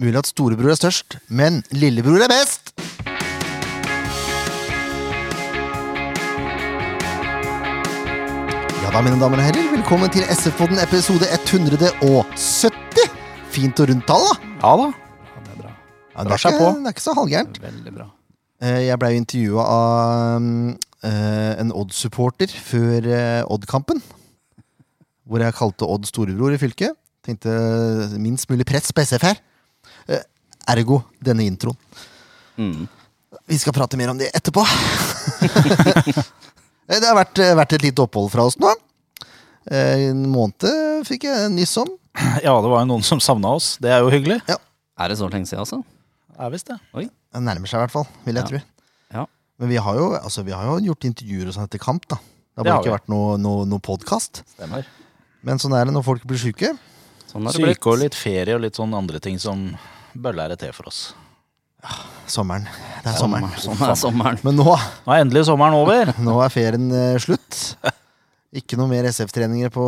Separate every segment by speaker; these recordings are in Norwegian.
Speaker 1: Mulig at storebror er størst, men lillebror er best! Ja da, mine damer og herrer, velkommen til SF-podden episode 170! Fint og rundt tall, da!
Speaker 2: Ja da. Ja, det er bra.
Speaker 1: Ja, det,
Speaker 2: Drar
Speaker 1: er
Speaker 2: seg
Speaker 1: ikke,
Speaker 2: på.
Speaker 1: det er ikke så halvgærent.
Speaker 2: Veldig bra.
Speaker 1: Eh, Jeg blei intervjua av mm, eh, en Odd-supporter før eh, Odd-kampen. Hvor jeg kalte Odd storebror i fylket. Tenkte minst mulig press på SF her. Eh, Ergo denne introen. Vi skal prate mer om det etterpå. Eh, det har vært, eh, vært et lite opphold fra oss nå. Eh, En måned fikk jeg nyss om.
Speaker 2: Ja, det var jo noen som savna oss. Det er jo hyggelig.
Speaker 3: Er det så lenge siden, altså?
Speaker 2: Det er visst det.
Speaker 1: Det nærmer seg i hvert fall, vil jeg
Speaker 3: Ja.
Speaker 1: tro.
Speaker 3: Ja.
Speaker 1: Men vi har, jo, altså, vi har jo gjort intervjuer og sånn etter kamp, da. Det har
Speaker 2: Det
Speaker 1: bare
Speaker 2: har
Speaker 1: ikke vært noe, noe, noe podkast.
Speaker 2: Stemmer.
Speaker 1: Men sånn er det når folk blir syke.
Speaker 3: Sånn har det blitt.
Speaker 2: Syke og litt ferie og litt sånn andre ting som bøller er til for oss.
Speaker 1: Sommeren. Det er sommeren.
Speaker 3: Sånn er sommeren.
Speaker 1: Men nå,
Speaker 2: Nå er endelig sommeren over.
Speaker 1: nå er ferien eh, slutt. Ikke noe mer SF-treninger på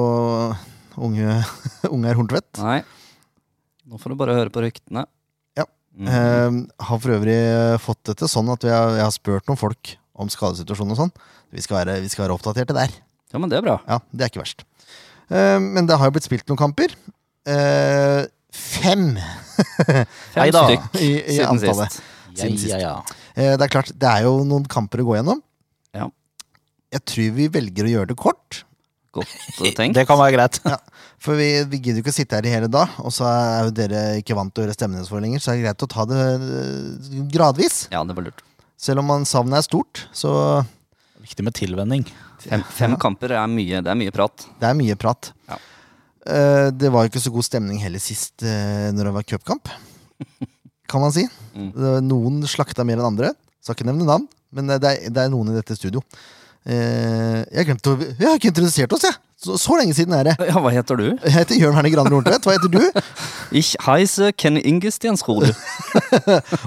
Speaker 1: unge, unger Horntvedt.
Speaker 3: Nei. Nå får du bare høre på ryktene.
Speaker 1: Ja.
Speaker 3: Mm.
Speaker 1: Eh, har for øvrig eh, fått det til sånn at vi har, jeg har spurt noen folk om skadesituasjonen og sånn. Vi skal være, vi skal være oppdaterte der.
Speaker 3: Ja, men det er bra.
Speaker 1: Ja, det er ikke verst. Eh, men det har jo blitt spilt noen kamper. Eh, fem
Speaker 3: Fem
Speaker 2: Hei da.
Speaker 3: stykk
Speaker 1: i, i
Speaker 3: siden
Speaker 1: antallet.
Speaker 3: sist.
Speaker 2: Ja, ja, ja.
Speaker 1: Eh, det er klart, det er jo noen kamper å gå gjennom.
Speaker 3: Ja.
Speaker 1: Jeg tror vi velger å gjøre det kort.
Speaker 3: Godt tenkt.
Speaker 2: Det kan være greit.
Speaker 1: For vi, vi gidder jo ikke å sitte her i hele dag, og så er jo dere ikke vant til å høre stemmen deres for lenger, så er det greit å ta det øh, gradvis.
Speaker 3: Ja, det var lurt.
Speaker 1: Selv om man savnet er stort, så
Speaker 2: Viktig med tilvenning.
Speaker 3: Fem, fem kamper er mye, det er mye prat.
Speaker 1: det er mye prat.
Speaker 3: Ja.
Speaker 1: Eh, det var jo ikke så god stemning heller sist eh, når det var cupkamp, kan man si.
Speaker 3: Mm.
Speaker 1: Det var Noen slakta mer enn andre. Skal ikke nevne navn, men eh, det er, det er noen i dette studio. Eh, jeg glemte å Jeg har ikke introdusert oss, jeg! Så, så lenge siden er det.
Speaker 3: Ja, hva heter du?
Speaker 1: Jeg heter Jørn Herne Graner Horntvedt. Hva heter du?
Speaker 3: Ich heise Ken Ingestensrode.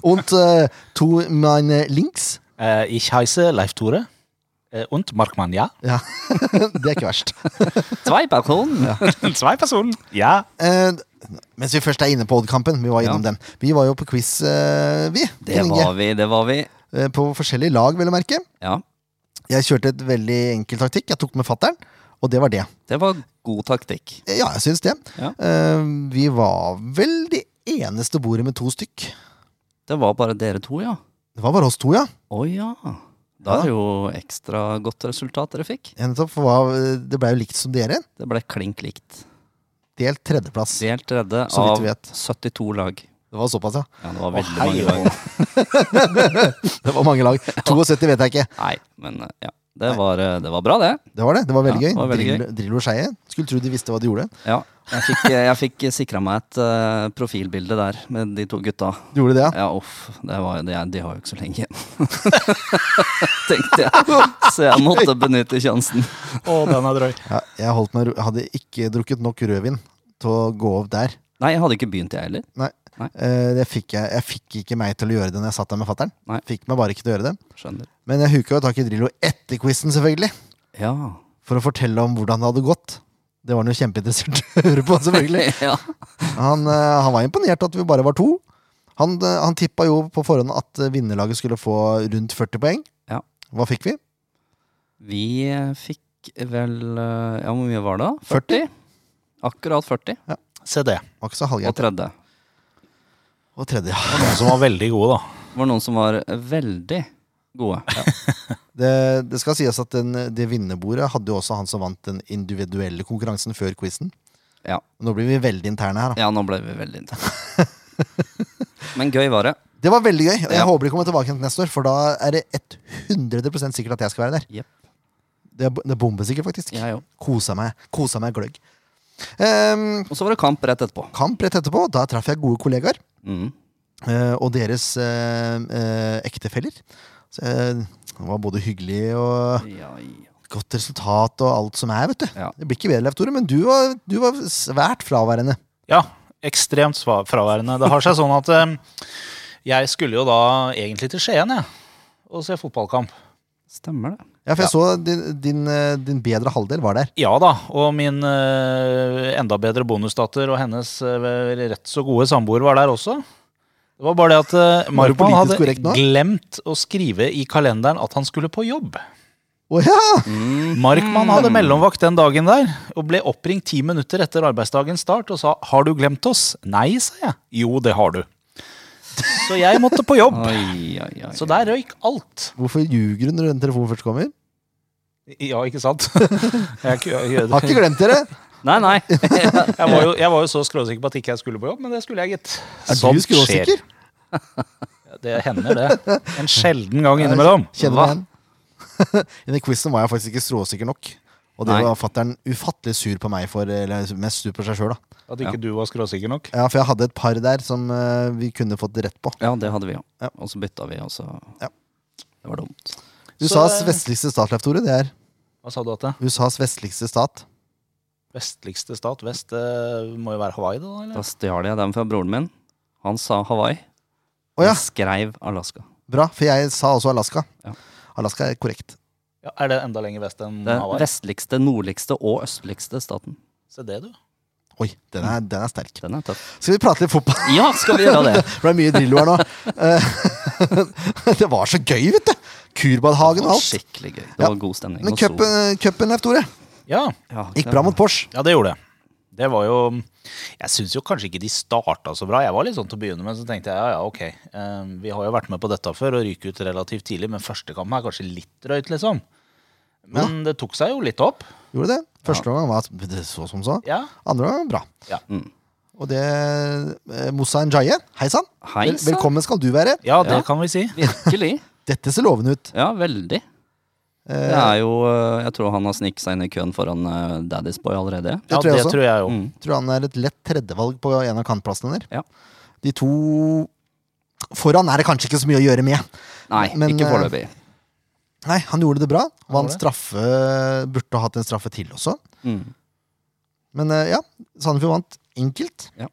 Speaker 1: Und uh, to meine links.
Speaker 2: Eh, ich heise Leif Tore. Eh, und Markmann, ja.
Speaker 1: Ja, Det er ikke verst.
Speaker 3: Zwei Balkon.
Speaker 2: Zwei Personen. Ja.
Speaker 1: Eh, mens vi først er inne på Odd-kampen, vi var innom
Speaker 3: Ja.
Speaker 1: den. Vi var jo på quiz, eh, vi.
Speaker 3: Det
Speaker 1: Inge.
Speaker 3: var vi, det var vi.
Speaker 1: Eh, på forskjellige lag, vel å merke.
Speaker 3: Ja.
Speaker 1: Jeg kjørte et veldig enkel taktikk. Jeg tok med fattern, og det var det.
Speaker 3: Det var god taktikk.
Speaker 1: Eh, Ja, jeg syns det.
Speaker 3: Ja.
Speaker 1: Eh, vi var vel det eneste bordet med to stykk.
Speaker 3: Det var bare dere to, ja.
Speaker 1: Det var bare oss to, ja.
Speaker 3: Å ja. Da er det jo ekstra godt resultat dere fikk.
Speaker 1: Ja, nettopp, for hva- Det blei jo likt som dere.
Speaker 3: Det ble klink likt.
Speaker 1: Delt tredjeplass. Det
Speaker 3: Delt redde
Speaker 1: Så vidt
Speaker 3: av
Speaker 1: vi vet.
Speaker 3: 72 lag.
Speaker 1: var såpass, ja.
Speaker 3: Ja, det var veldig
Speaker 2: hei,
Speaker 3: mange lag.
Speaker 1: Det var mange lag. 72 vet jeg ikke.
Speaker 3: Nei, men eh, ja. Det var, eh, det var bra, det.
Speaker 1: Det var det. Det var veldig
Speaker 3: Ja,
Speaker 1: gøy.
Speaker 3: det var veldig gøy.
Speaker 1: Drillo- Drillo og Skeie. Skulle tro de visste hva de gjorde.
Speaker 3: Ja. Jeg fikk, eh, jeg fikk sikra meg et eh, profilbilde der med de to gutta.
Speaker 1: Du gjorde det, ja?
Speaker 3: Ja, uff. Det var, det, de har jo ikke så lenge igjen. Tenkte jeg. Så jeg måtte benytte sjansen.
Speaker 2: Å, den er drøy.
Speaker 1: ja jeg holdt meg, ro- hadde ikke drukket nok rødvin til å gå opp der.
Speaker 3: Nei, jeg hadde ikke begynt, jeg heller.
Speaker 1: Nei.
Speaker 3: Nei.
Speaker 1: Eh, det fikk jeg, jeg fikk ikke meg til å gjøre det når jeg satt der med fatter'n.
Speaker 3: Nei.
Speaker 1: Fikk meg bare ikke til å gjøre det.
Speaker 3: Skjønner.
Speaker 1: Men jeg huka jo tak i Drillo etter quizen, selvfølgelig.
Speaker 3: Ja.
Speaker 1: For å fortelle om hvordan det hadde gått. Det var han jo kjempeinteressert å høre på, selvfølgelig.
Speaker 3: ja.
Speaker 1: Han, eh, han var imponert at vi bare var to. Han, eh, han tippa jo på forhånd at eh, vinnerlaget skulle få rundt 40 poeng.
Speaker 3: Ja.
Speaker 1: Hva fikk vi?
Speaker 3: Vi eh, fikk vel eh, Ja, hvor mye var det? da?
Speaker 1: 40?
Speaker 3: Akkurat 40.
Speaker 2: Se det.
Speaker 1: Var ikke så
Speaker 3: Og
Speaker 1: halvgærent.
Speaker 3: tredje.
Speaker 1: Og tredje, ja.
Speaker 2: Det var Noen som var veldig gode, da.
Speaker 3: Det var noen som var veldig gode.
Speaker 1: Det, det skal sies at den, det vinnerbordet hadde jo også han som vant den individuelle konkurransen før quizen.
Speaker 3: Ja.
Speaker 1: Nå blir vi veldig interne her. Da.
Speaker 3: Ja, nå ble vi veldig interne. Men gøy var det.
Speaker 1: Det var veldig gøy, og jeg
Speaker 3: Ja.
Speaker 1: håper de kommer tilbake igjen til neste år, for da er det 100 sikkert at jeg skal være der.
Speaker 3: Jepp.
Speaker 1: Det er, bo- det er bombesikkert, faktisk.
Speaker 3: Jeg òg.
Speaker 1: Kosa meg. Kosa meg gløgg. Ehm,
Speaker 3: Og så var det kamp rett etterpå.
Speaker 1: kamp rett etterpå. Da traff jeg gode kollegaer
Speaker 3: Mm.
Speaker 1: eh, og deres eh, eh, ektefeller. Så, eh, det var både hyggelig og
Speaker 3: Ja, ja.
Speaker 1: godt resultat og alt som er, vet du.
Speaker 3: Ja.
Speaker 1: Det blir ikke bedre, Leif Tore, men du var, du var svært fraværende.
Speaker 2: Ja, ekstremt sva- fraværende. Det har seg sånn at eh, jeg skulle jo da egentlig til Skien, jeg, og se fotballkamp.
Speaker 3: Stemmer det.
Speaker 1: Ja, for jeg så din, din, eh, din bedre halvdel var der.
Speaker 2: Ja da, og min eh, enda bedre bonusdatter og hennes eh, rett så gode samboer var der også. Det var bare det at eh, Markmann
Speaker 1: politisk
Speaker 2: hadde
Speaker 1: korrekt nå?
Speaker 2: glemt å skrive i kalenderen at han skulle på jobb.
Speaker 1: Å ja!
Speaker 3: Mm.
Speaker 2: Markmann hadde mellomvakt den dagen der, og ble oppringt ti minutter etter arbeidsdagens start og sa 'Har du glemt oss?' 'Nei', sa jeg. 'Jo, det har du'. Så jeg måtte på jobb.
Speaker 3: Oi, oi, oi.
Speaker 2: Så der røyk alt.
Speaker 1: Hvorfor ljuger du når den telefonen først kommer?
Speaker 2: Ja, ikke sant? Jeg, er ikke- jeg,
Speaker 1: Har ikke glemt dere!
Speaker 3: Nei, nei.
Speaker 2: jeg, var, jo, jeg var jo så skråsikker på at ikke jeg skulle på jobb, men det skulle jeg, gitt.
Speaker 1: Er
Speaker 2: Sånt
Speaker 1: du skråsikker?
Speaker 2: skjer. Det hender, det. En sjelden gang innimellom.
Speaker 1: Kjenner
Speaker 3: Hva?
Speaker 1: meg igjen. I den quizen var jeg faktisk ikke stråsikker nok. Og det
Speaker 3: Nei.
Speaker 1: var fatter'n ufattelig sur på meg for, eller mest sur på seg sjøl, da.
Speaker 2: At ikke du var skråsikker nok.
Speaker 1: Ja, for jeg hadde et par der som eh, vi kunne fått rett på.
Speaker 3: Ja, det hadde vi òg.
Speaker 1: Ja.
Speaker 3: Og så bytta vi, og så
Speaker 1: Ja.
Speaker 3: Det var dumt.
Speaker 1: USAs
Speaker 2: eh,
Speaker 1: vestligste stat, Leif Tore. Det er
Speaker 2: Hva sa du at det?
Speaker 1: USAs vestligste stat.
Speaker 2: Vestligste stat? Vest eh, må jo være Hawaii, da?
Speaker 3: Da
Speaker 2: eller?
Speaker 3: stjal jeg den fra broren min. Han sa Hawaii.
Speaker 1: Å ja,
Speaker 3: Jeg skreiv Alaska.
Speaker 1: bra, for jeg sa også Alaska.
Speaker 3: Ja.
Speaker 1: Alaska er korrekt.
Speaker 2: Ja, er det enda lenger vest enn
Speaker 3: Den
Speaker 2: Hawaii?
Speaker 3: vestligste, nordligste og østligste staten.
Speaker 2: Se det, du.
Speaker 1: Oi, den er, den er sterk.
Speaker 3: Den er tøff.
Speaker 1: Skal vi prate litt fotball?
Speaker 3: Ja, skal vi gjøre det?
Speaker 1: Det ble mye drillo her nå. Eh, det var så gøy, vet du! Kurbadhagen
Speaker 3: Det
Speaker 1: og
Speaker 3: var
Speaker 1: alt.
Speaker 3: skikkelig gøy. Det var god stemning.
Speaker 1: Men
Speaker 3: og sol.
Speaker 1: cupen, cupen, Leif Tore,
Speaker 2: Ja,
Speaker 3: Ja,
Speaker 1: gikk
Speaker 3: det-
Speaker 1: bra mot Porsch.
Speaker 2: ja det gjorde det. Det var jo Jeg syns jo kanskje ikke de starta så bra. Jeg var litt sånn til å begynne med, så tenkte jeg ja, ja, ok. Eh, vi har jo vært med på dette før og ryker ut relativt tidlig, men første kamp er kanskje litt drøyt, liksom. Men det tok seg jo litt opp.
Speaker 1: Gjorde det. Første gang var det så som så.
Speaker 2: Ja.
Speaker 1: Andre gang bra.
Speaker 2: Ja.
Speaker 3: Mm.
Speaker 1: Og det eh, Moussa Njaye, hei sann.
Speaker 3: Hei
Speaker 1: Vel,
Speaker 3: sann.
Speaker 1: velkommen skal du være.
Speaker 2: Ja, det
Speaker 3: Ja.
Speaker 2: kan vi si.
Speaker 3: Virkelig.
Speaker 1: Dette ser lovende ut.
Speaker 3: Ja, veldig.
Speaker 1: Eh,
Speaker 3: Det er jo eh, Jeg tror han har sniket seg inn i køen foran eh, Daddy's Boy allerede.
Speaker 2: Ja,
Speaker 1: tror jeg
Speaker 2: det
Speaker 1: også.
Speaker 2: tror jeg jo.
Speaker 3: Mm.
Speaker 1: tror han er et lett tredjevalg på en av kantplassene der.
Speaker 3: Ja.
Speaker 1: De to foran er det kanskje ikke så mye å gjøre med.
Speaker 3: Nei,
Speaker 1: Men,
Speaker 3: ikke
Speaker 1: eh,
Speaker 3: foreløpig.
Speaker 1: Nei, han gjorde det bra. Og han
Speaker 2: gjorde det.
Speaker 1: straffe Burde ha hatt en straffe til også.
Speaker 3: Mm.
Speaker 1: Men eh, ja, Sandefjord vant enkelt.
Speaker 3: Ja.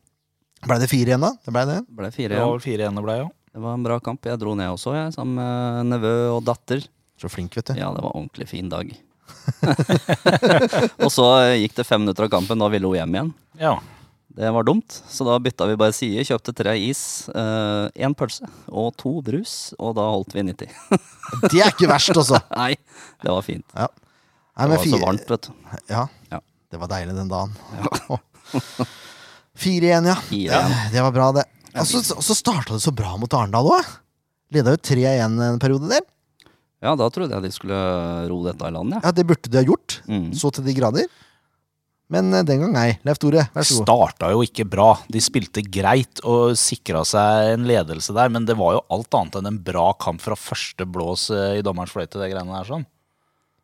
Speaker 1: Blei det fire igjen, da? Det ble det.
Speaker 3: Det ble fire
Speaker 2: Det var
Speaker 3: igjen.
Speaker 2: vel fire igjen det ble, ja.
Speaker 3: Det var en bra kamp. Jeg dro ned også, jeg, sammen med nevø og datter.
Speaker 1: Så flink, vet du.
Speaker 3: Ja, det var en ordentlig fin dag. og så eh, gikk det fem minutter av kampen, da ville hun hjem igjen.
Speaker 2: ja.
Speaker 3: Det var dumt, så da bytta vi bare side. Kjøpte tre is, én pølse og to brus, og da holdt vi 90.
Speaker 1: Det er ikke verst, altså!
Speaker 3: Nei, det var fint.
Speaker 1: Ja. Nei,
Speaker 3: Det
Speaker 1: men
Speaker 3: var så
Speaker 1: fire-
Speaker 3: varmt, vet du.
Speaker 1: Ja.
Speaker 3: Ja.
Speaker 1: Det var deilig den dagen. Fire igjen, ja.
Speaker 3: Fire
Speaker 1: ja.
Speaker 3: igjen.
Speaker 1: Det var bra, det. Og så, så starta det så bra mot Arendal òg. Leda jo 3-1 en periode der.
Speaker 3: Ja, da trodde jeg de skulle ro dette i land, ja.
Speaker 1: Ja, Det burde de ha gjort.
Speaker 3: Mm.
Speaker 1: Så til de grader. Men eh, den gang nei. Leif Tore, vær så god.
Speaker 2: starta jo ikke bra. De spilte greit og sikra seg en ledelse der, men det var jo alt annet enn en bra kamp fra første blås eh, i dommerens fløyte. det greiene der sånn.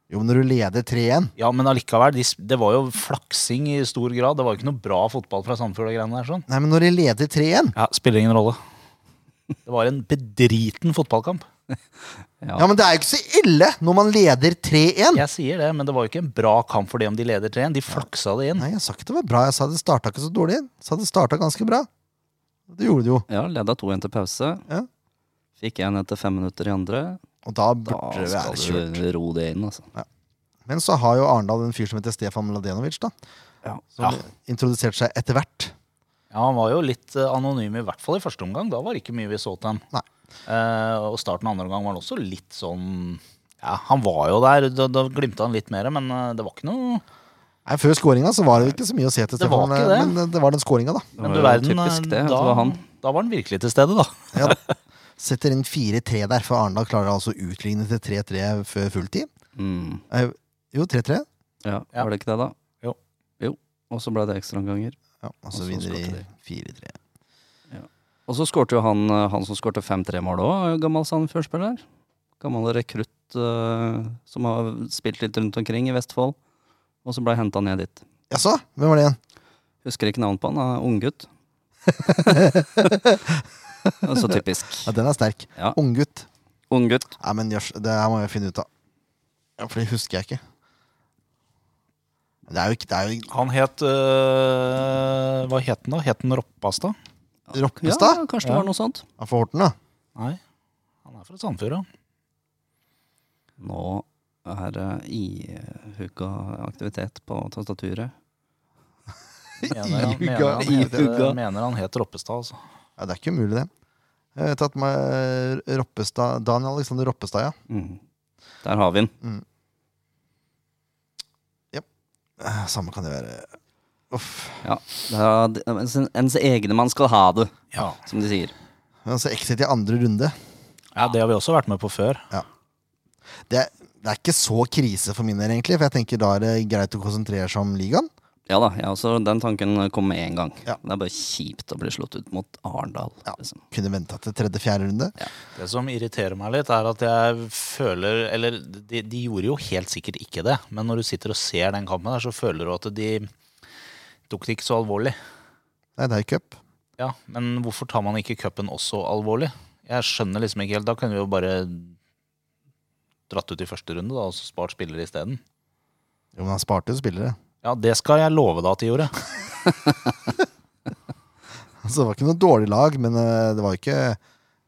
Speaker 1: Jo, men når du leder 3-1
Speaker 2: Ja, Men allikevel, de, sp- det var jo flaksing i stor grad. Det var jo ikke noe bra fotball fra Sandefjord. det greiene der sånn.
Speaker 1: Nei, men når de leder 3-1
Speaker 2: Ja, Spiller ingen rolle. Det var en bedriten fotballkamp.
Speaker 1: Ja, men det er jo ikke så ille når man leder 3-1.
Speaker 2: Jeg sier det, men det var jo ikke en bra kamp for det om de leder 3-1. De flaksa det inn.
Speaker 1: Nei, jeg sa ikke det var bra. Jeg sa det starta ikke så dårlig. Jeg sa det starta ganske bra. Det gjorde det jo.
Speaker 3: Ja, leda to igjen til pause.
Speaker 1: Ja.
Speaker 3: Fikk én etter fem minutter i andre.
Speaker 1: Og da
Speaker 3: Da
Speaker 1: burde det være kjørt.
Speaker 3: skal du ro det inn, altså.
Speaker 1: Men så har jo Arendal en fyr som heter Stefan Mladenovic, da.
Speaker 3: Ja.
Speaker 1: Som introduserte seg etter hvert.
Speaker 2: Ja, Han var jo litt eh, anonym, i hvert fall i første omgang. Da var det ikke mye vi så til ham.
Speaker 1: Nei.
Speaker 2: Eh, og starten av andre omgang var han også litt sånn Ja, han var jo der, da, da glimta han litt mer, men eh, det var ikke noe
Speaker 1: Nei, Før skåringa så var det jo ikke så mye å se til,
Speaker 2: Det var
Speaker 1: Stefan,
Speaker 2: ikke det.
Speaker 1: men det var den skåringa, da.
Speaker 2: Men
Speaker 3: var
Speaker 2: du
Speaker 3: jo
Speaker 2: verden,
Speaker 3: typisk
Speaker 2: eh,
Speaker 3: det, at
Speaker 2: da,
Speaker 3: det var han.
Speaker 2: da var han virkelig til stede, da.
Speaker 1: Ja, da. Setter inn 4-3 der, for Arendal klarer altså å utligne til 3-3 før fulltid.
Speaker 3: Mm.
Speaker 1: Eh, Jo, 3-3.
Speaker 3: Ja,
Speaker 2: Ja.
Speaker 3: var det ikke det, da?
Speaker 2: Jo.
Speaker 3: Jo. Og så ble det ekstraomganger.
Speaker 1: Ja, og
Speaker 3: Og
Speaker 1: så
Speaker 3: så
Speaker 1: vinner
Speaker 3: skårte
Speaker 1: de
Speaker 3: de.
Speaker 1: 4-3.
Speaker 3: Og så skårte jo han, eh, han som skårte 5-3-mål òg, gammel Sandefjord-spiller. Gammel rekrutt eh, som har spilt litt rundt omkring i Vestfold. Og så ble henta ned dit.
Speaker 1: Jaså, hvem var det igjen?
Speaker 3: Husker ikke navnet på han, han er unggutt. Det er så typisk.
Speaker 1: Ja, den er sterk.
Speaker 3: Ja.
Speaker 1: Unggutt.
Speaker 3: Unggutt.
Speaker 1: Nei, men jøss, det her må jeg finne ut av. Ja, For det husker jeg ikke. Det er jo ikke det er jo
Speaker 2: Han het eh, Hva het han da? Het han Roppastad?
Speaker 1: Roppestad?
Speaker 3: Ja, kanskje det
Speaker 2: Ja.
Speaker 3: var noe sånt.
Speaker 1: Ja, for Horten, da.
Speaker 2: Nei. Han er fra Sandefjord, ja.
Speaker 3: Nå er det ihuga aktivitet på tastaturet.
Speaker 2: Mener han,
Speaker 1: Ihuga,
Speaker 2: mener han, heter,
Speaker 3: ihuga.
Speaker 2: mener han het Roppestad, altså.
Speaker 1: Ja, det er ikke umulig, det. Jeg vet at med Roppestad, Daniel Alexander Roppestad, ja.
Speaker 3: Mm. Der har vi den.
Speaker 1: Eh, Samme kan det være. Uff.
Speaker 3: Ja. Det er, det- ens, ens egne man skal ha det,
Speaker 2: Ja.
Speaker 3: som de sier.
Speaker 1: Altså exit i andre runde.
Speaker 2: ja, det har vi også vært med på før.
Speaker 1: Det er, det er ikke så krise for min del, egentlig. For jeg tenker da er det greit å konsentrere seg om ligaen.
Speaker 3: Ja da, jeg også, den tanken kom med en gang.
Speaker 1: Ja.
Speaker 3: Det er bare kjipt å bli slått ut mot Arendal.
Speaker 1: Ja.
Speaker 3: Liksom.
Speaker 1: Kunne venta til tredje-fjerde runde.
Speaker 2: Det som irriterer meg litt, er at jeg føler Eller de, de gjorde jo helt sikkert ikke det, men når du sitter og ser den kampen der, så føler du at de tok det ikke så alvorlig.
Speaker 1: Nei, det er cup.
Speaker 2: Ja, Men hvorfor tar man ikke cupen også alvorlig? Jeg skjønner liksom ikke helt. Da kunne vi jo bare dratt ut i første runde da, og så spart spillere isteden.
Speaker 1: Jo, men han sparte jo spillere.
Speaker 2: Ja, det skal jeg love deg at de gjorde.
Speaker 1: Altså, det var ikke noe dårlig lag, men eh, det var ikke,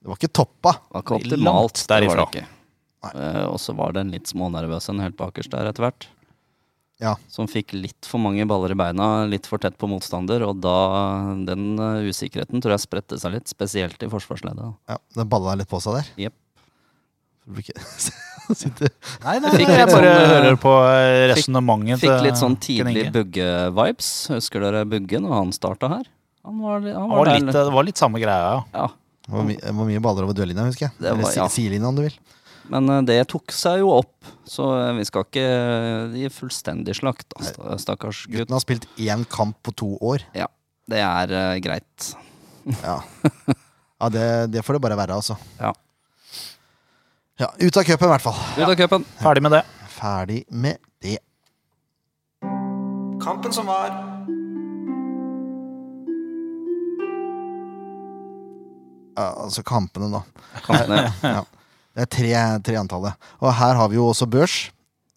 Speaker 1: det var ikke toppa.
Speaker 3: Det var ikke
Speaker 2: Det er
Speaker 3: optimalt.
Speaker 2: langt
Speaker 3: det var
Speaker 2: derifra.
Speaker 3: det ikke. Eh, og så var det en litt smånervøs en helt bakerst der etter hvert.
Speaker 1: Ja.
Speaker 3: Som fikk litt for mange baller i beina, litt for tett på motstander, og da Den eh, usikkerheten tror jeg spredte seg litt, spesielt i forsvarsleddet.
Speaker 1: Ja, den balla litt på seg der.
Speaker 3: Jepp.
Speaker 1: For å ikke- Sitte-
Speaker 2: Nei, nei,
Speaker 3: Fikk
Speaker 2: nei jeg
Speaker 3: litt
Speaker 2: bare
Speaker 3: sånn, eh,
Speaker 2: hører på resonnementet
Speaker 3: Fikk litt sånn
Speaker 2: til Ken
Speaker 3: tidlig
Speaker 2: Inge.
Speaker 3: Bugge-vibes. Husker dere Bugge når han starta her? Han var, li- han
Speaker 2: Det var,
Speaker 3: der
Speaker 2: litt, eh, det var litt samme greia, ja.
Speaker 3: Ja.
Speaker 1: Det var, my, det var mye baller over duellinja, husker jeg.
Speaker 3: Det var-
Speaker 1: Eller si,
Speaker 3: ja.
Speaker 1: sidelinja, om du vil.
Speaker 3: Men eh, det tok seg jo opp, så eh, vi skal ikke eh, gi fullstendig slakt, da, sta- stakkars gutt.
Speaker 1: Gutten har spilt én kamp på to år.
Speaker 3: Ja, det er eh, greit.
Speaker 1: Ja, ja det, det får det bare være, altså.
Speaker 3: Ja.
Speaker 1: Ja, Ut av cupen, i hvert fall.
Speaker 3: Ut av cupen.
Speaker 2: Ferdig med det.
Speaker 1: Ferdig med det. Kampen som var Ja, altså kampene, da.
Speaker 3: Kampene.
Speaker 1: Ja. Det er tre, tre antallet. Og her har vi jo også børs.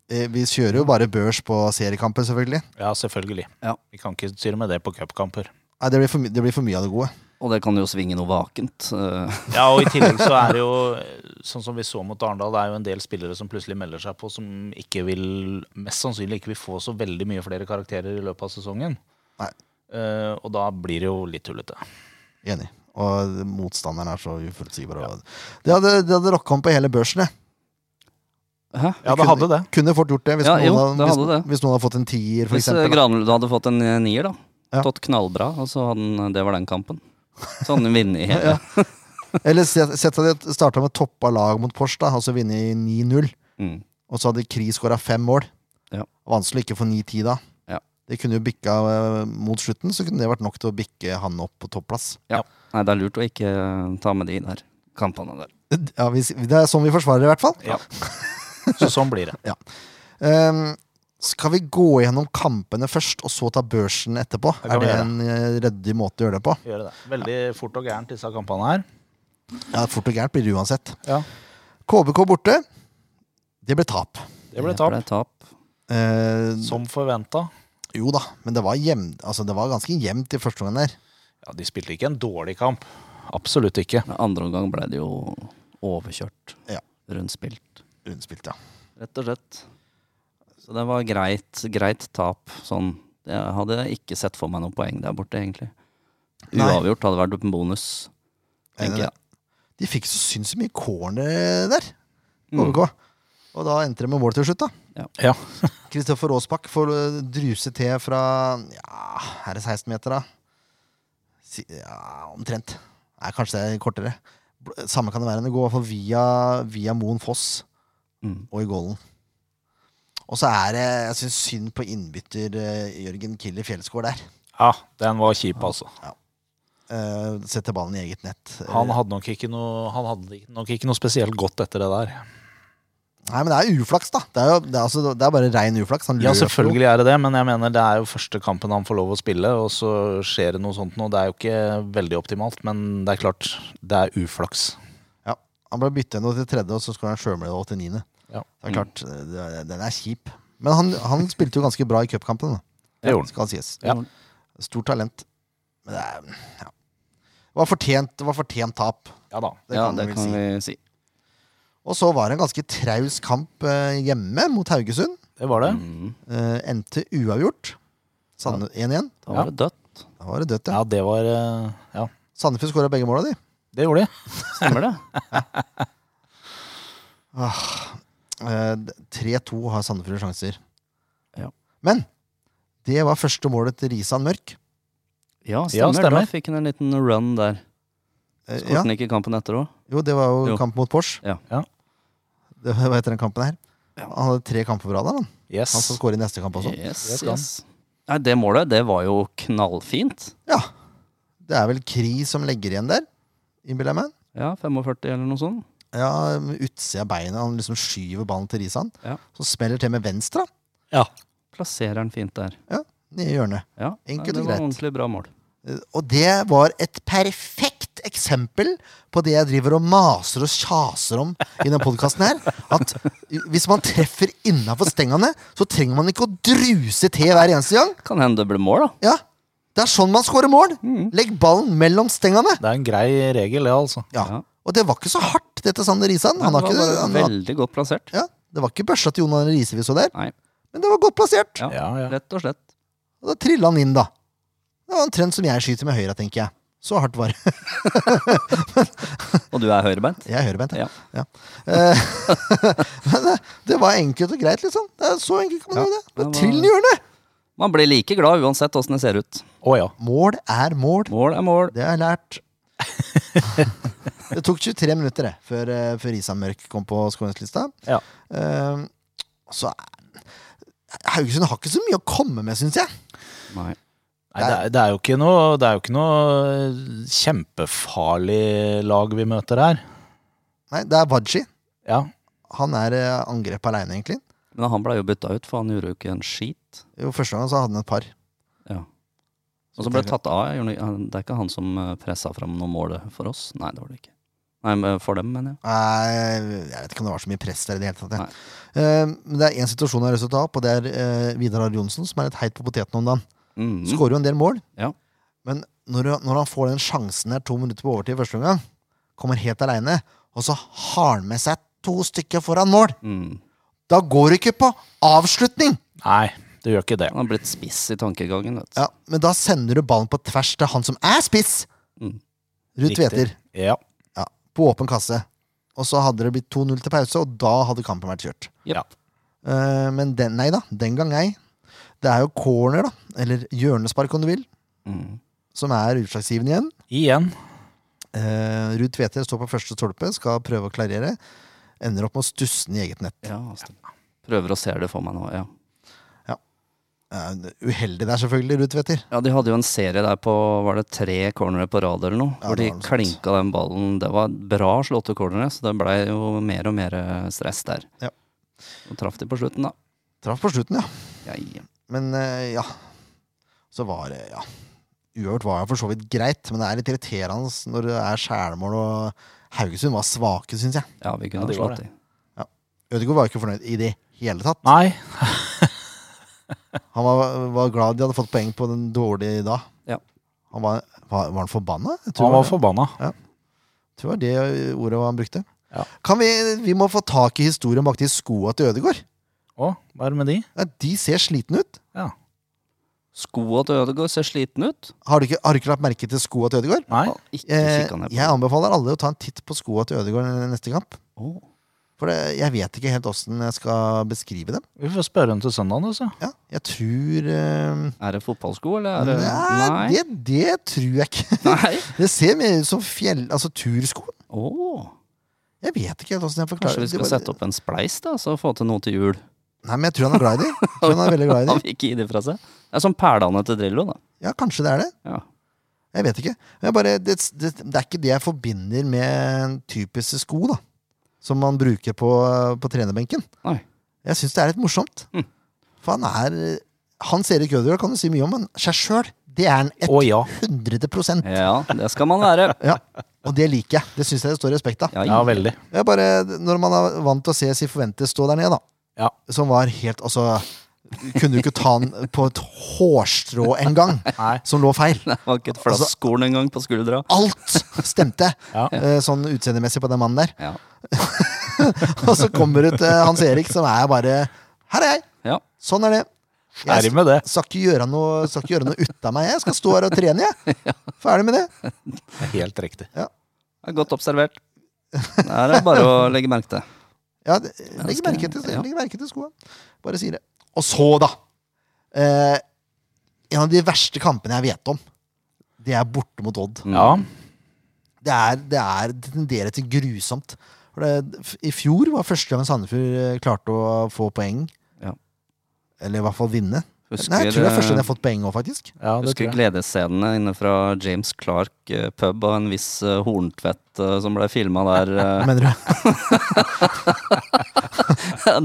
Speaker 1: Eh, Vi kjører jo bare børs på seriekamper, selvfølgelig.
Speaker 2: Ja, selvfølgelig.
Speaker 3: Ja.
Speaker 2: Vi kan ikke styre med det på cupkamper.
Speaker 1: Nei, det blir, for, my- det blir for mye av det gode.
Speaker 3: Og det kan jo svinge noe vakent. eh,
Speaker 2: Ja, og i tillegg så er det jo, sånn som vi så mot Arendal, det er jo en del spillere som plutselig melder seg på som ikke vil, mest sannsynlig ikke vil få så veldig mye flere karakterer i løpet av sesongen.
Speaker 1: Nei.
Speaker 2: Eh, og da blir det jo litt tullete.
Speaker 1: Enig. Og motstanderen er så uforutsigbar. og- Det hadde, det hadde rocka om på hele børsen, jeg.
Speaker 3: Hæ?
Speaker 2: Ja, det
Speaker 1: kunne-
Speaker 2: hadde det.
Speaker 1: Kunne fort gjort det hvis,
Speaker 3: Ja,
Speaker 1: noen,
Speaker 3: jo,
Speaker 1: hadde,
Speaker 3: det
Speaker 1: hvis,
Speaker 3: hadde det.
Speaker 1: hvis noen hadde fått en tier, for
Speaker 3: Hvis eh,
Speaker 1: eksempel. da.
Speaker 3: Granlund hadde fått en eh, nier, da.
Speaker 1: Ja.
Speaker 3: Stått knallbra, og så hadde han, det var den kampen. Så hadde han vunnet hele.
Speaker 1: Eller sett sett at de starta med toppa lag mot Porsch, da, og så vinne i 9-0.
Speaker 3: Mm.
Speaker 1: Og så hadde Kri skåra fem mål.
Speaker 3: Ja.
Speaker 1: Vanskelig å ikke få 9-10 da.
Speaker 3: Ja.
Speaker 1: Det kunne jo bikka eh, mot slutten, så kunne det vært nok til å bikke han opp på topplass.
Speaker 3: Nei, det er lurt å ikke eh, ta med de der kampene der.
Speaker 1: Ja, vi, det er sånn vi forsvarer, i hvert fall.
Speaker 2: Ja. Så sånn blir det.
Speaker 1: Ehm, skal vi gå gjennom kampene først, og så ta børsen etterpå?
Speaker 2: Det
Speaker 1: Er
Speaker 2: kan vi
Speaker 1: det en eh, ryddig måte å gjøre det på?
Speaker 2: Gjøre det. Veldig fort og gærent, disse kampene her.
Speaker 1: Ja, Fort og gærent blir det uansett.
Speaker 2: Ja.
Speaker 1: KBK borte. Det ble tap.
Speaker 2: Det ble tap.
Speaker 3: Det ble tap.
Speaker 1: Eh,
Speaker 2: Som forventa.
Speaker 1: jo da, men det var, jevn- altså, det var ganske jevnt i første omgang der.
Speaker 2: Ja, de spilte ikke en dårlig kamp. Absolutt ikke.
Speaker 3: Men Andre omgang ble det jo overkjørt.
Speaker 1: Ja.
Speaker 3: Rundspilt.
Speaker 1: Rundspilt, ja.
Speaker 3: Rett og slett. Så det var greit, greit tap. Sånn. Jeg hadde ikke sett for meg noen poeng der borte, egentlig.
Speaker 1: Nei.
Speaker 3: Uavgjort hadde vært en bonus,
Speaker 1: Enig i
Speaker 3: tenker
Speaker 1: det.
Speaker 3: jeg.
Speaker 1: Eh, De fikk så sinnssykt mye corner eh, der. KBK. Og da endte det med mål til slutt, da.
Speaker 2: Ja.
Speaker 1: Kristoffer Aasbakk får eh, druse til fra ja, er det 16 meter, da? Si- Ja, omtrent. Nei, kanskje det er kortere. Bl- Samme kan det være. men Det går i hvert fall via, via Moen Foss
Speaker 3: Mm.
Speaker 1: og i goalen. Og så er det jeg synes, synd på innbytter eh, Jørgen Killer Fjellsgård der.
Speaker 2: ja, den var kjip, altså.
Speaker 1: Eh, Setter ballen i eget nett. Eh,
Speaker 2: Han hadde nok ikke noe, han hadde nok ikke noe spesielt godt etter det der.
Speaker 1: Nei, men det er uflaks, da. Det er, jo, det er, altså, det er bare rein uflaks. Han
Speaker 2: Ja,
Speaker 1: løper jo.
Speaker 2: selvfølgelig er det det, men jeg mener det er jo første kampen han får lov å spille, og så skjer det noe sånt nå. Det er jo ikke veldig optimalt, men det er klart, det er uflaks.
Speaker 1: Ja, han ble byttet inn til tredje, og så skårer han sjølmål til niende.
Speaker 2: Ja.
Speaker 1: Det er klart, eh, det- den er kjip. Men han, han spilte jo ganske bra i cupkampen, da.
Speaker 2: Det gjorde han.
Speaker 1: skal sies.
Speaker 2: Ja.
Speaker 1: Stort talent. Men det er ja. Det var fortjent, det var fortjent tap.
Speaker 2: Ja da.
Speaker 1: Det
Speaker 3: ja,
Speaker 1: kan
Speaker 3: det
Speaker 1: man vel
Speaker 3: kan
Speaker 1: si.
Speaker 3: vi si.
Speaker 1: Og så var det en ganske traus kamp eh, hjemme mot Haugesund.
Speaker 2: Det var det.
Speaker 3: Mm.
Speaker 1: Eh, endte uavgjort. Sande- 1-1.
Speaker 3: Da var det dødt.
Speaker 1: Da var det dødt, ja.
Speaker 2: Ja, det var eh, Ja.
Speaker 1: Sandefjord skåra begge måla, de.
Speaker 2: Det gjorde de.
Speaker 3: Stemmer det?
Speaker 1: Eh, 3-2 har Sandefjord sjanser.
Speaker 3: Ja.
Speaker 1: Men det var første målet til Risan Mørk.
Speaker 3: Ja, stemmer.
Speaker 2: Ja, stemmer.
Speaker 3: Da fikk han en liten run der.
Speaker 1: Eh,
Speaker 3: Skåret
Speaker 1: ja.
Speaker 3: han ikke i kampen etter òg?
Speaker 1: Jo, det var jo,
Speaker 3: Jo.
Speaker 1: kamp mot Porsch.
Speaker 3: Ja.
Speaker 2: Ja.
Speaker 1: Det, hva heter den kampen her?
Speaker 3: Ja.
Speaker 1: Han hadde tre kamper på rad. Han,
Speaker 2: Yes.
Speaker 1: han skal skåre i neste kamp også.
Speaker 3: Yes,
Speaker 2: Det skal han.
Speaker 3: yes. Nei, det målet, det var jo knallfint.
Speaker 1: Ja. Det er vel Kri som legger igjen der, innbiller jeg meg.
Speaker 3: Ja, 45 eller noe sånt.
Speaker 1: Ja, med utsida av beinet. Han liksom skyver ballen til Risan.
Speaker 3: Ja.
Speaker 1: Så smeller til med venstre,
Speaker 2: Ja.
Speaker 3: Plasserer han fint der.
Speaker 1: nede i hjørnet.
Speaker 3: Ja, nei,
Speaker 1: Enkelt og
Speaker 3: Det var
Speaker 1: greit.
Speaker 3: ordentlig bra mål.
Speaker 1: Eh, Og det var et perfekt eksempel på det jeg driver og maser og kjaser om i denne podkasten her. At hvis man treffer innafor stengene, så trenger man ikke å druse til hver eneste gang.
Speaker 3: Kan hende det blir mål, da.
Speaker 1: Ja, Det er sånn man scorer mål. Legg ballen mellom stengene.
Speaker 2: Det er en grei regel, det, altså.
Speaker 1: Ja.
Speaker 3: Ja.
Speaker 1: Og det var ikke så hardt, dette Sander Risan. Han har
Speaker 3: det
Speaker 1: ikke,
Speaker 3: var bare
Speaker 1: han har,
Speaker 3: veldig godt plassert.
Speaker 1: ja, det var ikke børsa til Jon Arne Riise vi så der,
Speaker 3: Nei.
Speaker 1: men det var godt plassert.
Speaker 3: Ja,
Speaker 2: Ja, ja.
Speaker 3: rett og slett.
Speaker 1: Og da trilla han inn, da. Det var omtrent som jeg skyter med høyre, tenker jeg. Så hardt var det.
Speaker 3: Og du er høyrebeint?
Speaker 1: Jeg er høyrebeint. jeg.
Speaker 3: Ja.
Speaker 1: Ja. Eh, Men det, det var enkelt og greit, liksom. Det er så enkelt kan man
Speaker 3: Ja,
Speaker 1: gjøre det. Bare
Speaker 3: det var-
Speaker 1: Trill den i hjørnet!
Speaker 3: Man blir like glad uansett åssen det ser ut.
Speaker 2: Å ja.
Speaker 1: Mål er mål.
Speaker 3: Mål er mål.
Speaker 1: Det har jeg lært. det tok 23 minutter det, før, eh, før Isan Mørk kom på skåringslista.
Speaker 2: Ja.
Speaker 1: Eh, så er- Haugesund har ikke så mye å komme med, syns jeg.
Speaker 3: Nei.
Speaker 2: Nei, det, er, det, er jo ikke noe, det er jo ikke noe kjempefarlig lag vi møter her.
Speaker 1: Nei, Det er Wadji.
Speaker 2: Ja.
Speaker 1: Han er eh, angrep aleine, egentlig.
Speaker 3: Men han blei jo bytta ut, for han gjorde jo ikke en skit.
Speaker 1: Jo, Første gangen så hadde han et par.
Speaker 3: Ja. Og så ble det tatt av. jeg gjorde noe- han- Det er ikke han som pressa fram noe mål for oss. Nei, det var det ikke. Nei, men eh, for dem, mener jeg.
Speaker 1: Nei, Jeg vet ikke om det var så mye press der i det hele tatt.
Speaker 3: Nei.
Speaker 1: jeg. Eh, Men det er én situasjon jeg har lyst til å ta opp, og det er eh, Vidar Arild Johnsen, som er litt heit på poteten om dagen.
Speaker 3: Mhm.
Speaker 1: Skårer jo en del mål.
Speaker 3: Ja.
Speaker 1: Men når, når han får den sjansen her to minutter på overtid i første omgang, kommer helt aleine, og så har han med seg to stykker foran mål,
Speaker 3: Mhm.
Speaker 1: da går du ikke på avslutning!
Speaker 2: Nei, det gjør ikke det.
Speaker 3: Han har blitt spiss i tankegangen, vet du.
Speaker 1: Ja, Men da sender du ballen på tvers til han som er spiss!
Speaker 3: Mm.
Speaker 1: Ruud
Speaker 2: Riktig.
Speaker 1: Tveter.
Speaker 2: Ja.
Speaker 1: Ja, på åpen kasse. Og så hadde det blitt 2-0 til pause, og da hadde kampen vært kjørt.
Speaker 3: Jep.
Speaker 2: Ja.
Speaker 1: Eh, men den, nei da, den gang ei. Det er jo corner, da, eller hjørnespark om du vil,
Speaker 3: Mhm.
Speaker 1: som er utslagsgivende igjen.
Speaker 2: Igjen.
Speaker 1: Uh, Ruud Tveter står på første stolpe, skal prøve å klarere. Ender opp med å stusse den i eget nett.
Speaker 3: Ja, stemmer. Prøver å se det for meg nå, ja.
Speaker 1: Eh, uheldig der, selvfølgelig, Ruud Tveter.
Speaker 3: Ja, De hadde jo en serie der på var det tre cornere på rad eller noe.
Speaker 1: Ja,
Speaker 3: hvor
Speaker 1: det
Speaker 3: de
Speaker 1: var noe sånt.
Speaker 3: klinka den ballen. Det var bra slåtte cornere, så det blei jo mer og mer eh, stress der.
Speaker 1: Ja.
Speaker 3: Og traff de på slutten, da.
Speaker 1: Traff på slutten, ja.
Speaker 3: Ja, ja.
Speaker 1: Men eh, ja. Så var det, ja. Uavgjort var jo for så vidt greit, men det er litt irriterende når det er skjærmål og Haugesund var svake, syns jeg.
Speaker 3: ja vi
Speaker 2: Ja,
Speaker 3: kunne
Speaker 2: de
Speaker 3: ha
Speaker 2: var
Speaker 3: slått de.
Speaker 1: Ødegaard var jo ikke fornøyd i det hele tatt.
Speaker 2: Nei.
Speaker 1: Han var, var glad de hadde fått poeng på den dårlige da.
Speaker 3: Ja.
Speaker 1: Han var, var, var han forbanna? Jeg tror,
Speaker 2: Han var
Speaker 1: det-
Speaker 2: forbanna.
Speaker 1: tror det var det ordet han brukte.
Speaker 2: Ja.
Speaker 1: Kan vi, vi må få tak i historien bak de skoa til Ødegård.
Speaker 2: Å, hva er det med de?
Speaker 1: Ja, de ser slitne ut.
Speaker 2: Ja.
Speaker 3: Skoa til Ødegaard ser sliten ut.
Speaker 1: Har du ikke, har du ikke lagt merke til skoa til Ødegård?
Speaker 2: Nei.
Speaker 3: Faen, Ikke
Speaker 1: Eh,
Speaker 3: kikka ned på
Speaker 1: jeg
Speaker 3: det.
Speaker 1: anbefaler alle å ta en titt på skoa til Ødegård neste kamp.
Speaker 3: Å,
Speaker 1: For det, jeg vet ikke helt åssen jeg skal beskrive dem.
Speaker 2: Vi får spørre henne til søndagen, altså.
Speaker 1: Ja, jeg tror eh,
Speaker 3: Er det fotballsko, eller er det
Speaker 1: Nei,
Speaker 3: Nei.
Speaker 1: det, det tror jeg ikke.
Speaker 3: Nei.
Speaker 1: Det ser mer ut som fjell... Altså tursko.
Speaker 3: Å,
Speaker 1: Jeg vet ikke helt åssen jeg forklarer
Speaker 3: kanskje vi
Speaker 1: det.
Speaker 3: skal
Speaker 1: Bare-
Speaker 3: sette opp en spleis, da, så få til noe til jul.
Speaker 1: Nei, men jeg tror han er glad i de. Jeg Tror han er veldig glad i de.
Speaker 3: Han vil ikke gi det fra seg. Det er som perlene til Drillo, da.
Speaker 1: Ja, kanskje det er det.
Speaker 3: Ja.
Speaker 1: Jeg vet ikke. Men jeg bare, det, det, det er ikke det jeg forbinder med typiske sko, da. Som man bruker på, på trenerbenken.
Speaker 3: Nei.
Speaker 1: Jeg syns det er litt morsomt.
Speaker 3: Mm.
Speaker 1: For han er Hans Erik Ødegaard kan du si mye om, men seg sjøl, det er han
Speaker 2: Å ja.
Speaker 1: 100 prosent.
Speaker 3: ja, det skal man være.
Speaker 1: Ja. Og det liker jeg. Det syns jeg det står respekt av.
Speaker 2: Ja, veldig.
Speaker 1: Jeg bare, når man er vant til å se Sifuentes stå der nede, da.
Speaker 2: Ja.
Speaker 1: Som var helt Altså, kunne du ikke ta han på et hårstrå en gang
Speaker 2: Nei.
Speaker 1: som lå feil?
Speaker 3: Det var ikke et
Speaker 1: altså-
Speaker 3: flaskhorn engang på skuldra.
Speaker 1: Alt stemte,
Speaker 2: Ja.
Speaker 1: eh, sånn utseendemessig, på den mannen der.
Speaker 3: Ja.
Speaker 1: Og så kommer det ut eh, Hans Erik, som er bare Her er jeg!
Speaker 3: ja.
Speaker 1: Sånn er det.
Speaker 2: Ferdig med det.
Speaker 1: skal ikke gjøre noe, skal ikke gjøre noe ut av meg, jeg. Skal stå her og trene, jeg. Ferdig med det.
Speaker 2: Helt riktig.
Speaker 3: Ja, Godt observert. Det er det bare å legge merke til.
Speaker 1: Ja, det- legg
Speaker 3: skal-
Speaker 1: merke, til,
Speaker 3: ja.
Speaker 1: legg merke til skoa. Bare sier det. Og så, da! Eh, en av de verste kampene jeg vet om, det er borte mot Odd.
Speaker 3: Mm.
Speaker 2: Ja.
Speaker 1: Det er, det er det tenderer til grusomt. For det, f- I fjor var første gang Sandefjord eh, klarte å få poeng.
Speaker 3: Ja.
Speaker 1: Eller i hvert fall vinne.
Speaker 3: Husker,
Speaker 1: Nei, jeg tror det er første gang
Speaker 3: eh,
Speaker 1: jeg har fått poeng òg, faktisk.
Speaker 2: ja, det
Speaker 3: Husker
Speaker 2: tror jeg.
Speaker 3: gledesscenene inne fra James Clark eh, pub og en viss eh, Horntvedt eh, som ble filma der. eh.
Speaker 1: Mener du?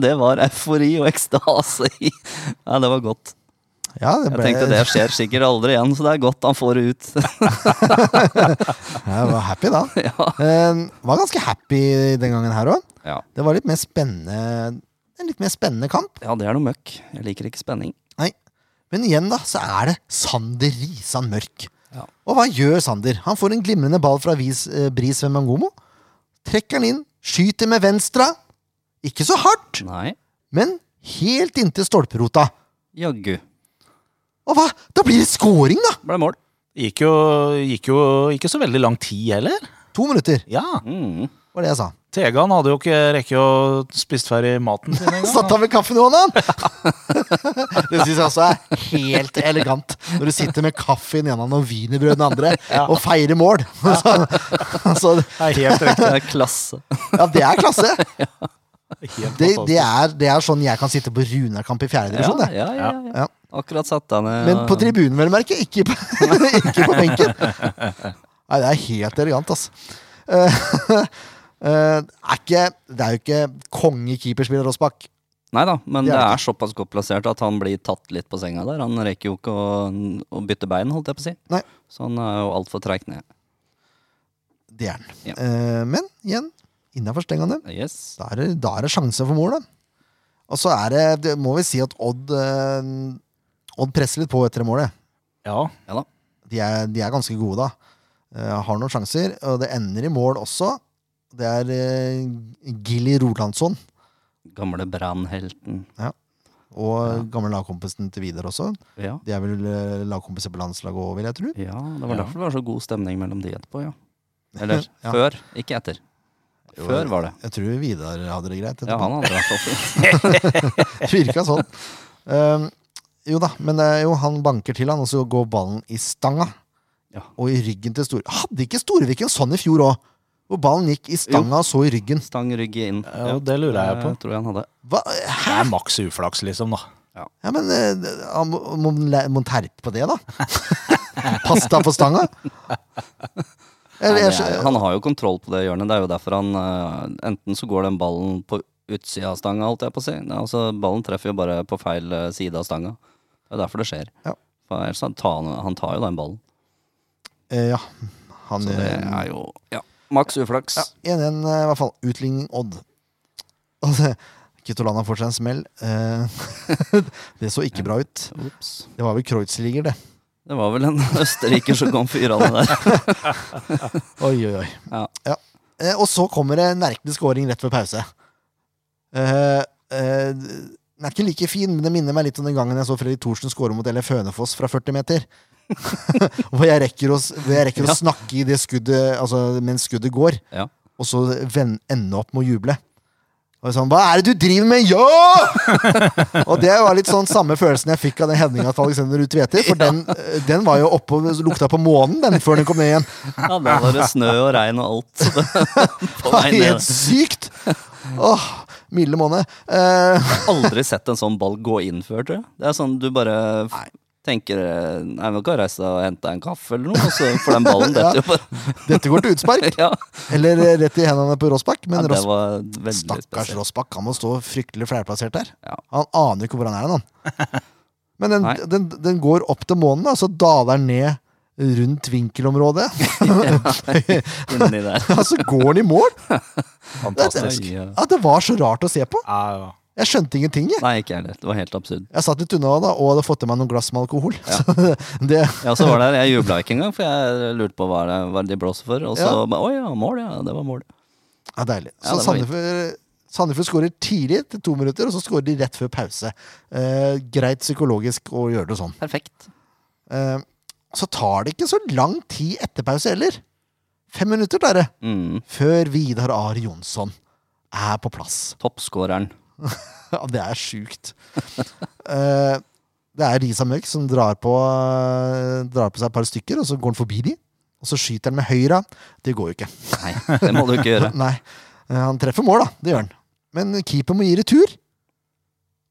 Speaker 3: det var eufori og ekstase i Ja, det var godt.
Speaker 1: Ja, det
Speaker 3: Jeg
Speaker 1: ble,
Speaker 3: tenkte det skjer sikkert aldri igjen, så det er godt han får det ut.
Speaker 1: Jeg var happy da.
Speaker 3: ja.
Speaker 1: Eh, var ganske happy den gangen her òg.
Speaker 3: Ja.
Speaker 1: Det var litt mer spennende en litt mer spennende kamp.
Speaker 3: ja, det er noe møkk. Jeg liker ikke spenning.
Speaker 1: Men igjen, da, så er det Sander Risan Mørk.
Speaker 3: Ja.
Speaker 1: Og hva gjør Sander? Han får en glimrende ball fra Vis, eh, Bris Wembangomo. Trekker den inn, skyter med venstre. Ikke så hardt,
Speaker 3: Nei.
Speaker 1: men helt inntil stolperota.
Speaker 3: Jaggu.
Speaker 1: Og hva? Da blir det scoring, da!
Speaker 3: Ble mål.
Speaker 2: Gikk jo, gikk jo ikke så veldig lang tid heller.
Speaker 1: To minutter,
Speaker 2: Ja.
Speaker 3: Mm.
Speaker 1: var det jeg sa.
Speaker 2: Tegan hadde jo ikke rekke å spist ferdig maten sin
Speaker 1: Satt
Speaker 2: engang.
Speaker 1: han med kaffen i hånda? Det syns jeg også er helt elegant. Når du sitter med kaffe i den ene og wienerbrød i den andre og feirer mål. Så, så,
Speaker 2: Nei, Helt riktig.
Speaker 3: Det er klasse.
Speaker 1: ja, det er klasse.
Speaker 2: Helt
Speaker 1: Det,
Speaker 2: fantastisk.
Speaker 1: det, er, det er sånn jeg kan sitte på Runar-kamp i fjerde divisjon.
Speaker 3: ja,
Speaker 1: det.
Speaker 3: ja,
Speaker 1: Ja.
Speaker 3: ja, ja. Akkurat satt eh, deg ned.
Speaker 1: Men på
Speaker 3: og-
Speaker 1: tribunen, vel å merke. Ikke på, ikke på benken. Nei, det er helt elegant, altså. Eh, er ikke, det er jo ikke konge-keeperspiller Rossbakk.
Speaker 3: Nei da, men
Speaker 1: Det
Speaker 3: det
Speaker 1: er
Speaker 3: er,
Speaker 1: det
Speaker 3: såpass godt plassert at han blir tatt litt på senga der. Han rekker jo ikke å, å bytte bein, holdt jeg på å si.
Speaker 1: Nei.
Speaker 3: Så han er jo altfor treig ned.
Speaker 1: Det er han.
Speaker 3: Ja.
Speaker 1: Eh, men igjen, innafor stengene.
Speaker 3: Yes.
Speaker 1: Da er det, da er det sjanse for mål, da. Og så er det, det må vi si at Odd eh, Odd presser litt på etter det målet.
Speaker 2: Ja.
Speaker 3: Ja da.
Speaker 1: De er, de er ganske gode da. Eh, har noen sjanser, og det ender i mål også. Det er eh, Gilly Rolandsson
Speaker 3: Gamle brannhelten.
Speaker 1: og gamle lagkompisen til Vidar også.
Speaker 3: Ja.
Speaker 1: De er vel eh, lagkompiser på landslaget òg, vil jeg tro.
Speaker 3: ja, det var
Speaker 2: Ja.
Speaker 3: derfor det var så god stemning mellom de etterpå, ja. Eller
Speaker 1: Ja.
Speaker 3: før, ikke etter.
Speaker 1: Jo,
Speaker 3: Før var det.
Speaker 1: Jeg tror Vidar hadde det greit.
Speaker 3: Ja, han hadde vært oppe.
Speaker 1: Det Virka sånn. Ehm, jo da, men eh, jo, han banker til, han, og så går ballen i stanga.
Speaker 3: Ja.
Speaker 1: Og i ryggen til Store... Hadde ikke Storevik en sånn i fjor òg? Hvor ballen gikk i stanga og så i ryggen.
Speaker 3: Stang rygg inn.
Speaker 2: Ja, og det lurer jeg på.
Speaker 3: Det tror jeg han hadde.
Speaker 1: Hva?
Speaker 2: Det er maks uflaks, liksom, da.
Speaker 1: Ja, men eh, han må, må, han læ- må han terpe på det, da? Pass deg på stanga! Jeg,
Speaker 3: Nei,
Speaker 1: jeg,
Speaker 3: det er,
Speaker 1: skjø-
Speaker 3: han har jo kontroll på det hjørnet. Det er jo derfor han eh, Enten så går den ballen på utsida av stanga, holdt jeg på å si. Nei, Altså, ballen treffer jo bare på feil eh, side av stanga. Det er derfor det skjer.
Speaker 1: Ja.
Speaker 3: For ellers han tar, han- han tar jo den ballen.
Speaker 1: eh, ja, han
Speaker 3: Så det
Speaker 1: eh,
Speaker 3: er jo ja, maks uflaks.
Speaker 1: Ja, 1-1 eh, i hvert fall. Utligning Odd. Og det- Kitolana får seg en smell. Eh, det så ikke bra ut.
Speaker 3: Ops.
Speaker 1: Det var vel Kreuzliger, det.
Speaker 3: Det var vel en østerriker som kom fyrende der.
Speaker 1: Oi, oi, oi.
Speaker 3: Ja.
Speaker 1: Eh, og så kommer det en merkelig scoring rett før pause. Eh, eh, den er ikke like fin, men det minner meg litt om den gangen jeg så Fredrik Thorsen score mot LF Hønefoss fra 40 meter. hvor jeg rekker, å, s- hvor jeg rekker
Speaker 3: Ja.
Speaker 1: å snakke i det skuddet altså, mens skuddet går,
Speaker 3: Ja.
Speaker 1: og så ven, ende opp med å juble. Og sånn, Hva er det du driver med?! Ja! og det var litt sånn samme følelsen jeg fikk av den hendinga til Alexander Ruud Tveter. For den, eh, den var jo oppe og lukta på månen den før den kom ned igjen.
Speaker 3: Ja, da var det snø og regn og alt. Så det, på vei
Speaker 1: Helt
Speaker 3: ned.
Speaker 1: sykt! Åh, milde måned. Eh,
Speaker 3: Aldri sett en sånn ball gå inn før, tror jeg. Det er sånn du bare f- tenker eh, Nei, vi kan reise og hente en kaffe eller noe, og så får den ballen dette jo bare.
Speaker 1: dette går til utspark,
Speaker 3: Ja.
Speaker 1: eller eh, rett i hendene på Rossbakk. Men
Speaker 3: ja, det
Speaker 1: Ross,
Speaker 3: var veldig
Speaker 1: stakkars
Speaker 3: spesielt.
Speaker 1: Rossbakk han må stå fryktelig flerplassert der.
Speaker 3: Ja.
Speaker 1: Han aner ikke hvor han er hen, han. Men den,
Speaker 3: Nei.
Speaker 1: den, den går opp til månen, og så daler den ned rundt vinkelområdet.
Speaker 3: Inni der.
Speaker 1: Og så går den i mål!
Speaker 2: Fantastisk.
Speaker 3: Oi, ja.
Speaker 1: Ja, det var så rart å se på.
Speaker 2: Ja, ja.
Speaker 1: Jeg skjønte ingenting. Jeg,
Speaker 3: Nei, ikke jeg heller. Det var helt absurd.
Speaker 1: jeg satt litt unna da, og hadde fått i meg noen glass med alkohol. Så det,
Speaker 3: Ja, så var det, Jeg jubla ikke engang, for jeg lurte på hva det hva de blåser for. Og så
Speaker 1: Ja.
Speaker 3: bare, Å ja, mål, ja. Det var mål.
Speaker 1: Ja, deilig.
Speaker 3: Ja,
Speaker 1: Så
Speaker 3: det var
Speaker 1: Sandefjord, Sandefjord skårer tidlig til to minutter, og så skårer de rett før pause. Eh, greit psykologisk å gjøre det sånn.
Speaker 3: Perfekt.
Speaker 1: Eh, så tar det ikke så lang tid etter pause heller. Fem minutter tar det
Speaker 3: Mm.
Speaker 1: før Vidar Ari Jonsson er på plass.
Speaker 3: Toppskåreren.
Speaker 1: Ja, det er sjukt. Eh, det er Risa Mørk som drar på, drar på seg et par stykker, og så går han forbi de. Og så skyter han med høyre. Det går jo ikke.
Speaker 3: Nei, det må du ikke gjøre.
Speaker 1: Nei, eh, Han treffer mål, da. Det gjør han. Men keeper må gi retur.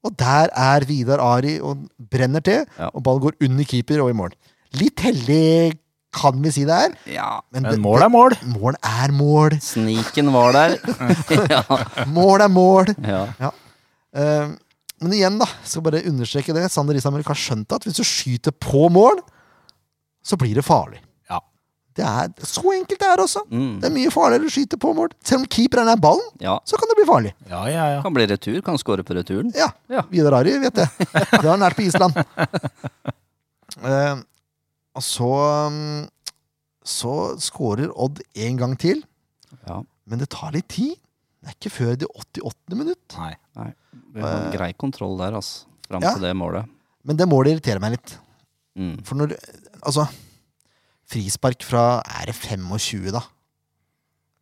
Speaker 1: Og der er Vidar Ari og brenner til,
Speaker 3: Ja.
Speaker 1: og ballen går under keeper og i mål. Litt heldig kan vi si det er,
Speaker 3: Ja,
Speaker 1: men, det-
Speaker 2: Men mål er mål.
Speaker 1: det- mål er mål.
Speaker 3: sniken var der. ja,
Speaker 1: Mål er mål.
Speaker 3: ja.
Speaker 1: Eh, men igjen, da, skal bare understreke det. Sander Isamurk har skjønt at hvis du skyter på mål, så blir det farlig.
Speaker 2: Ja.
Speaker 1: Det er så enkelt det er også.
Speaker 3: Mm.
Speaker 1: Det er mye farligere å skyte på mål. Selv om keeperen er ballen,
Speaker 3: ja.
Speaker 1: så kan det bli farlig.
Speaker 2: Ja, ja, ja.
Speaker 3: Kan bli retur, kan skåre på returen.
Speaker 1: Ja.
Speaker 3: Ja.
Speaker 1: Vidar Ari, vet jeg. Det har han lært på Island. Eh, og så mm, Så skårer Odd en gang til,
Speaker 3: Ja.
Speaker 1: men det tar litt tid. Det er ikke før det 88. minutt.
Speaker 2: Nei.
Speaker 3: Vi har grei kontroll der, altså. Fram
Speaker 1: Eh. Ja.
Speaker 3: til det målet.
Speaker 1: Men det målet irriterer meg litt.
Speaker 3: Mm.
Speaker 1: For når Altså, frispark fra Er det 25, da?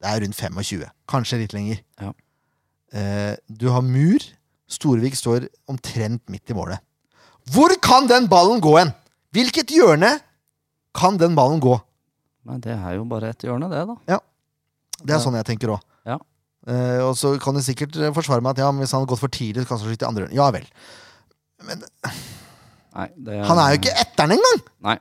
Speaker 1: Det er rundt 25. Kanskje litt lenger.
Speaker 3: Ja.
Speaker 1: Eh, du har mur. Storvik står omtrent midt i målet. Hvor kan den ballen gå hen? Hvilket hjørne kan den ballen gå?
Speaker 3: Nei, det er jo bare et hjørne, det, da.
Speaker 1: Det er
Speaker 3: Ja.
Speaker 1: sånn jeg tenker òg.
Speaker 3: Ja.
Speaker 1: Eh, og så kan du sikkert eh, forsvare meg at ja, men hvis han hadde gått for tidlig, så kan han skyte i andre hjørne. Ja vel.
Speaker 3: Nei, det
Speaker 1: Han er jo ikke etteren engang!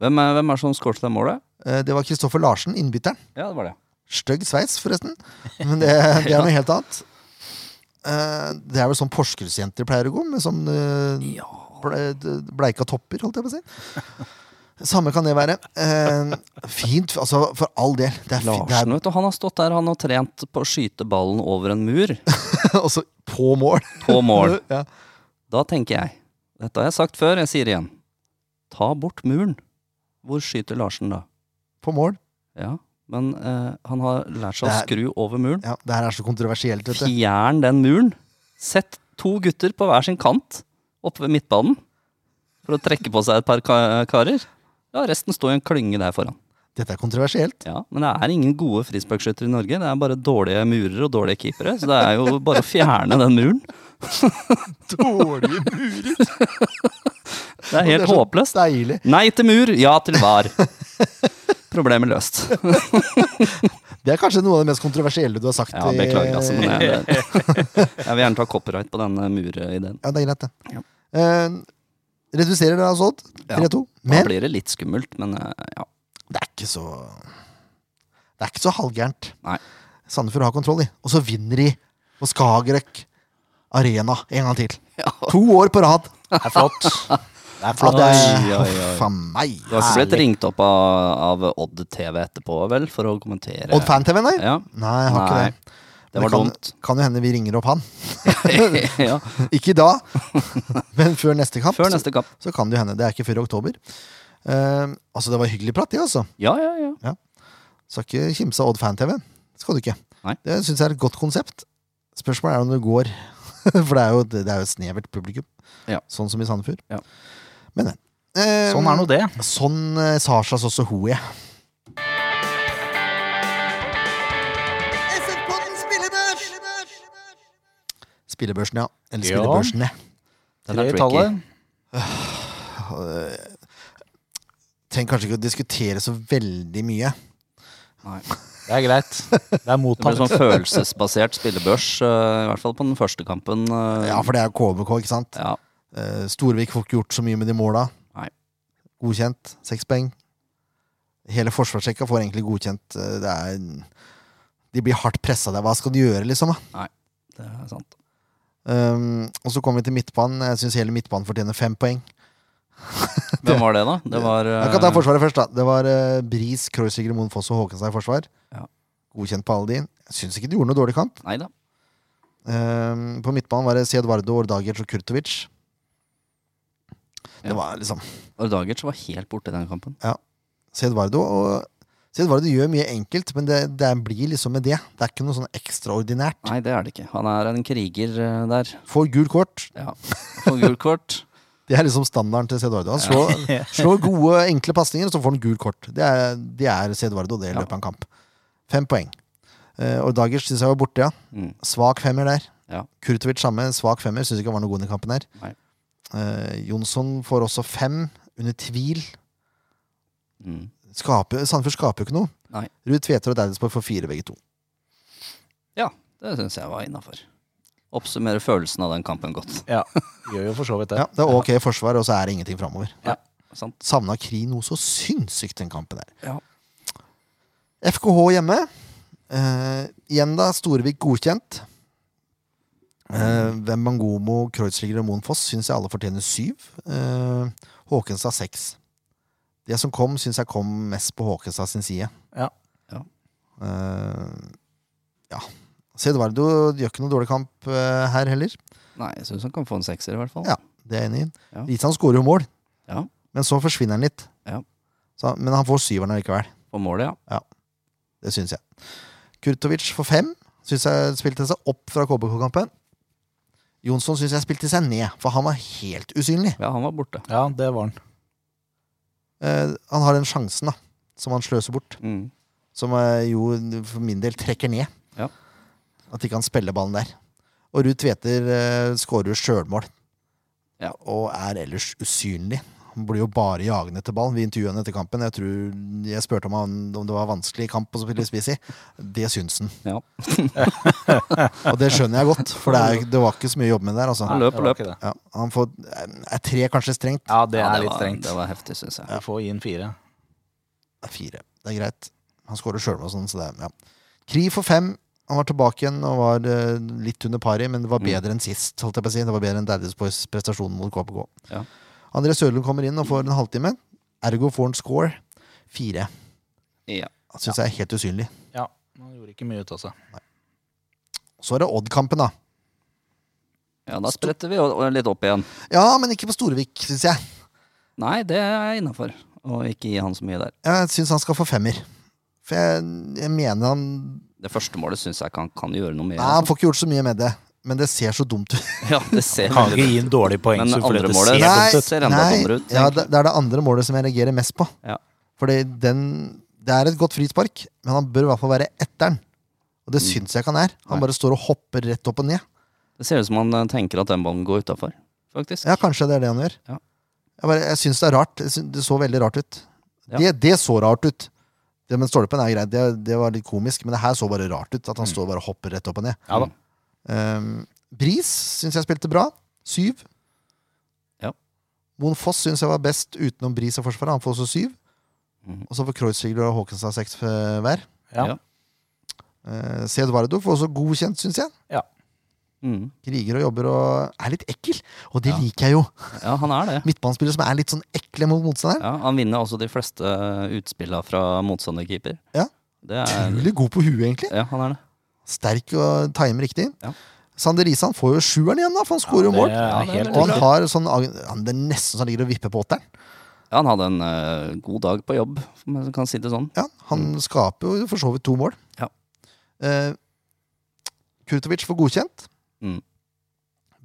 Speaker 3: Hvem er, hvem er som skåret det målet?
Speaker 1: Eh, det var Kristoffer Larsen, innbytteren.
Speaker 3: Ja, det var det.
Speaker 1: Stygg sveis, forresten. Men det, det er noe helt annet. Eh, det er vel sånn Porsgrunnsjenter pleier å gå, med sånn eh,
Speaker 3: Ja.
Speaker 1: ble, d- bleika topper, holdt jeg på å si. Samme kan det være. Eh, fint, altså, for all del. Det er fint,
Speaker 3: Larsen,
Speaker 1: det
Speaker 3: vet du. Han har stått der han har trent på å skyte ballen over en mur
Speaker 1: er også på mål.
Speaker 3: på mål.
Speaker 1: Ja.
Speaker 3: Da tenker jeg Dette har jeg sagt før, jeg sier igjen. Ta bort muren. Hvor skyter Larsen da?
Speaker 1: På mål.
Speaker 3: Ja, men eh, han har lært seg å
Speaker 1: Det
Speaker 3: skru over muren.
Speaker 1: Ja, det her er så kontroversielt, vet du.
Speaker 3: Fjern den muren. Sett to gutter på hver sin kant oppe ved midtbanen for å trekke på seg et par ka karer. Ja, resten står i en klynge der foran.
Speaker 1: Dette er kontroversielt.
Speaker 3: Ja, Men det er ingen gode frisparkskyttere i Norge. Det er bare dårlige murer og dårlige keepere. Så det er jo bare å fjerne den muren.
Speaker 1: Dårlige murer!
Speaker 3: Det er helt
Speaker 1: Det er så
Speaker 3: håpløst.
Speaker 1: Deilig.
Speaker 3: Nei til mur, ja til var. Problemet løst.
Speaker 1: Det er kanskje noe av det mest kontroversielle du har sagt.
Speaker 3: Ja,
Speaker 1: i-
Speaker 3: beklager, altså. Men jeg, jeg vil gjerne ta copyright på denne murideen.
Speaker 1: Ja, det er greit, det.
Speaker 3: Ja.
Speaker 1: Eh, reduserer det altså Odd.
Speaker 3: Ja.
Speaker 1: 3-2.
Speaker 3: Da
Speaker 1: Men
Speaker 3: blir det litt skummelt, men eh, ja.
Speaker 1: det er ikke så Det er ikke så halvgærent.
Speaker 3: Nei.
Speaker 1: Sandefjord har kontroll, de. Og så vinner de på Skagerrak Arena en gang til.
Speaker 3: Ja.
Speaker 1: To år på rad.
Speaker 2: Det er flott. Det er
Speaker 1: Ja,
Speaker 2: flott.
Speaker 1: det
Speaker 3: Oi,
Speaker 1: er
Speaker 3: oi, oi.
Speaker 1: Huff a meg.
Speaker 3: Du har ikke blitt ringt opp av, av Odd TV etterpå, vel, for å kommentere?
Speaker 1: Odd Fan-TV, nei?
Speaker 3: Ja,
Speaker 1: Nei, jeg har
Speaker 3: Nei,
Speaker 1: ikke det.
Speaker 3: det
Speaker 1: Men
Speaker 3: var
Speaker 1: kan,
Speaker 3: dumt.
Speaker 1: kan jo hende vi ringer opp han.
Speaker 3: ja.
Speaker 1: Ikke da, men før neste kamp.
Speaker 3: Før neste kamp.
Speaker 1: Så, så kan det jo hende. Det er ikke før i oktober. Eh, altså, det var hyggelig prat, det, altså.
Speaker 3: Ja, ja, ja.
Speaker 1: Skal ikke kimse av Odd Fan-TV. Skal du ikke.
Speaker 3: Nei.
Speaker 1: Det syns jeg er et godt konsept. Spørsmålet er om det går. For det er jo, det er jo et snevert publikum.
Speaker 3: Ja.
Speaker 1: Sånn som i Sandefjord.
Speaker 3: Ja.
Speaker 1: Men men. Eh,
Speaker 2: Sånn er nå det.
Speaker 1: Sånn eh, Sashas også hoe. Spillebørsen, ja. Eller
Speaker 2: Ja.
Speaker 1: spillebørsene.
Speaker 3: Den
Speaker 2: Tre
Speaker 3: er
Speaker 2: i
Speaker 3: tricky.
Speaker 2: tallet.
Speaker 1: Trenger kanskje ikke å diskutere så veldig mye.
Speaker 3: Nei.
Speaker 2: Det er greit. Det er
Speaker 3: Det ble
Speaker 2: mottatt.
Speaker 3: sånn følelsesbasert spillebørs, eh, i hvert fall på den første kampen. eh,
Speaker 1: Ja, for det er jo KBK, ikke sant?
Speaker 3: ja.
Speaker 1: Eh, Storvik får ikke gjort så mye med de måla.
Speaker 3: Nei.
Speaker 1: Godkjent. Seks poeng. Hele forsvarssjekka får egentlig godkjent. Eh, Det er, de blir hardt pressa der. Hva skal de gjøre, liksom? da?
Speaker 3: Det er sant.
Speaker 1: Um, og så kommer vi til midtbanen. Jeg syns hele midtbanen fortjener fem poeng.
Speaker 3: Hvem var det, da? Det var eh,
Speaker 1: Jeg kan ta Forsvaret først, da. Det var eh, Bris, Kreuziger, Moen Foss og Håkenstad i forsvar.
Speaker 3: Ja.
Speaker 1: Godkjent på alle de. Jeg syns ikke de gjorde noe dårlig kamp.
Speaker 3: Nei da.
Speaker 1: Um, på midtbanen var det Siedvardo, Ordagic og Kurtovic.
Speaker 3: Ja.
Speaker 1: Det var liksom
Speaker 3: Ordagic var helt borte i den kampen.
Speaker 1: Cedvardo. Og Cedvardo gjør mye enkelt, men det, det blir liksom med det. Det er ikke noe sånn ekstraordinært.
Speaker 3: Nei, det er det ikke. Han er en kriger eh, der.
Speaker 1: Får gul kort.
Speaker 3: Ja. Får gult kort.
Speaker 1: Det er liksom standarden til Ceduardo. Han slår, slår gode, enkle pasninger, og så får han gul kort. Det er, det er Ceduardo, det i
Speaker 3: Ja.
Speaker 1: løpet av en kamp. Fem poeng. Eh, og Dagers synes jeg var borte, ja.
Speaker 3: Mm.
Speaker 1: Svak femmer der.
Speaker 3: Ja.
Speaker 1: Kurtovic samme, svak femmer. Syns ikke han var noe god i kampen der.
Speaker 3: Nei.
Speaker 1: Eh, Jonsson får også fem, under tvil.
Speaker 3: Mm.
Speaker 1: Skaper- Sandefjord skaper jo ikke noe.
Speaker 3: Nei.
Speaker 1: Ruud Tveter og Deidsborg får fire, begge to.
Speaker 3: Det syns jeg var innafor. Oppsummerer følelsen av den kampen godt.
Speaker 2: Ja, gjør jo for så vidt det.
Speaker 1: Ja, det er ok forsvar, og så er det ingenting framover.
Speaker 3: Sant?
Speaker 1: Savna Kri noe så sinnssykt den kampen der.
Speaker 3: Ja.
Speaker 1: FKH hjemme. Eh, igjen da, Storevik godkjent. Eh, Wembangomo, Kreuzliger og Moen Foss syns jeg alle fortjener syv. Eh, Håkenstad seks. Det som kom, syns jeg kom mest på Håkenstad sin side.
Speaker 2: Ja.
Speaker 3: Ja.
Speaker 1: Eh, ja. Cedvardo gjør ikke noe dårlig kamp eh, her heller.
Speaker 3: Nei, jeg syns han kan få en sekser, i hvert fall.
Speaker 1: Ja. Det er jeg enig i.
Speaker 3: Ja.
Speaker 1: Risan skårer jo mål,
Speaker 3: Ja.
Speaker 1: men så forsvinner han litt.
Speaker 3: Ja.
Speaker 1: Så, men han får syveren likevel.
Speaker 3: På målet, ja.
Speaker 1: Det syns jeg. Kurtovic for fem syns jeg spilte seg opp fra KBK-kampen. Jonsson syns jeg spilte seg ned, for han var helt usynlig.
Speaker 3: Ja, han var borte.
Speaker 2: Ja, det var han.
Speaker 1: Eh, han har den sjansen da, som han sløser bort,
Speaker 3: Mm.
Speaker 1: som eh, jo for min del trekker ned.
Speaker 3: Ja.
Speaker 1: At ikke han spiller ballen der. Og Ruud Tveter eh, skårer jo sjølmål,
Speaker 3: Ja.
Speaker 1: og er ellers usynlig. Han blir jo bare jagende etter ballen. Vi intervjuet han etter kampen. Jeg tror jeg spurte om, han, om det var vanskelig kamp å spille spiss i. Det syns han.
Speaker 3: Ja.
Speaker 1: Og det skjønner jeg godt, for det, er, det var ikke så mye jobb med det der.
Speaker 3: Han
Speaker 1: Altså.
Speaker 3: løp
Speaker 2: Det
Speaker 3: og
Speaker 2: var
Speaker 3: løp.
Speaker 2: ikke det.
Speaker 1: Ja, han får eh, er tre, kanskje strengt.
Speaker 2: Ja, det
Speaker 3: Ja,
Speaker 2: er litt
Speaker 3: var-
Speaker 2: strengt.
Speaker 3: Det var heftig, syns jeg.
Speaker 2: Du får gi en fire.
Speaker 1: Det er Fire. Det er greit. Han skårer sjølmål og sånn, så det er ja. Kri for fem. Han var tilbake igjen og var eh, litt under pari, men det
Speaker 3: Mm.
Speaker 1: var bedre enn sist. holdt jeg på å si. Det var bedre enn Daddy's Boys prestasjon mot KPK.
Speaker 3: Ja.
Speaker 1: André Sørlund kommer inn og får en halvtime. Ergo får han score. Fire.
Speaker 3: Ja.
Speaker 1: Han syns jeg er helt usynlig.
Speaker 2: Ja, han gjorde ikke mye ut av seg.
Speaker 1: Så er det Odd-kampen, da.
Speaker 3: ja, da spretter vi o- litt opp igjen.
Speaker 1: Ja, men ikke på Storevik, syns jeg.
Speaker 3: Nei, det er innafor. Og ikke gi han så mye der.
Speaker 1: Jeg syns han skal få femmer. For jeg, jeg mener han
Speaker 3: Det første målet syns jeg ikke han kan gjøre noe med.
Speaker 1: Nei, han får ikke gjort så mye med det. Men det ser så dumt ut.
Speaker 3: altså. Ja, det ser
Speaker 2: Kan ikke gi en dårlig
Speaker 3: Men
Speaker 2: poengsum fordi
Speaker 3: andre
Speaker 2: det
Speaker 3: målet-
Speaker 2: ser
Speaker 3: Nei.
Speaker 2: dumt ut.
Speaker 3: ser enda dummere ut,
Speaker 1: Ja, det,
Speaker 3: egentlig.
Speaker 1: det er det andre målet som jeg reagerer mest på.
Speaker 3: Ja.
Speaker 1: Fordi den Det er et godt frispark, men han bør i hvert fall være etteren. Og det syns jeg ikke han er. Han
Speaker 3: Mm. Nei.
Speaker 1: bare står og hopper rett opp og ned.
Speaker 3: Det ser ut som han eh, tenker at den ballen går utafor, faktisk.
Speaker 1: Ja, kanskje det er det han gjør.
Speaker 3: Ja.
Speaker 1: Jeg, bare, jeg syns det er rart. Jeg syns- Det så veldig rart ut.
Speaker 3: Ja.
Speaker 1: Det, det så rart ut. Det med stolpen er greit, det, det var litt komisk, men det her så bare rart ut. At
Speaker 3: Mm.
Speaker 1: han står og bare og hopper rett opp og ned.
Speaker 2: Ja da.
Speaker 1: Um, Bris syns jeg spilte bra. Syv.
Speaker 3: Ja.
Speaker 1: Moen Foss syns jeg var best utenom Bris og Forsvaret. Han får også syv.
Speaker 3: Mhm.
Speaker 1: Og så får Kreuzigler og Håkenstad seks eh, hver.
Speaker 2: Ja.
Speaker 3: Ja.
Speaker 1: Uh, Cedvardo får også godkjent, syns jeg.
Speaker 3: Mm.
Speaker 1: Kriger og jobber og er litt ekkel. Og det
Speaker 3: Ja.
Speaker 1: liker jeg jo.
Speaker 3: ja, han er det.
Speaker 1: Midtbanespillere som er litt sånn ekle mot motstanderen.
Speaker 3: Ja, han vinner også de fleste utspilla fra motstanderkeeper.
Speaker 1: Ja.
Speaker 3: Det er,
Speaker 1: Utrolig god på huet, egentlig.
Speaker 3: ja, han er det.
Speaker 1: Sterk og timer riktig.
Speaker 3: Ja.
Speaker 1: Sander Risan får jo sjueren igjen, da, for han skårer jo
Speaker 2: Det
Speaker 1: mål.
Speaker 2: er
Speaker 3: det er
Speaker 2: helt
Speaker 1: Og han
Speaker 2: riktig.
Speaker 1: har sånn han- Det er nesten så han ligger og vipper på åtteren.
Speaker 3: Ja, han hadde en eh, god dag på jobb, om jeg kan si det sånn.
Speaker 1: Ja, han skaper jo for så vidt to mål.
Speaker 3: Ja.
Speaker 1: Eh, Kurtovic får godkjent.
Speaker 3: Mm.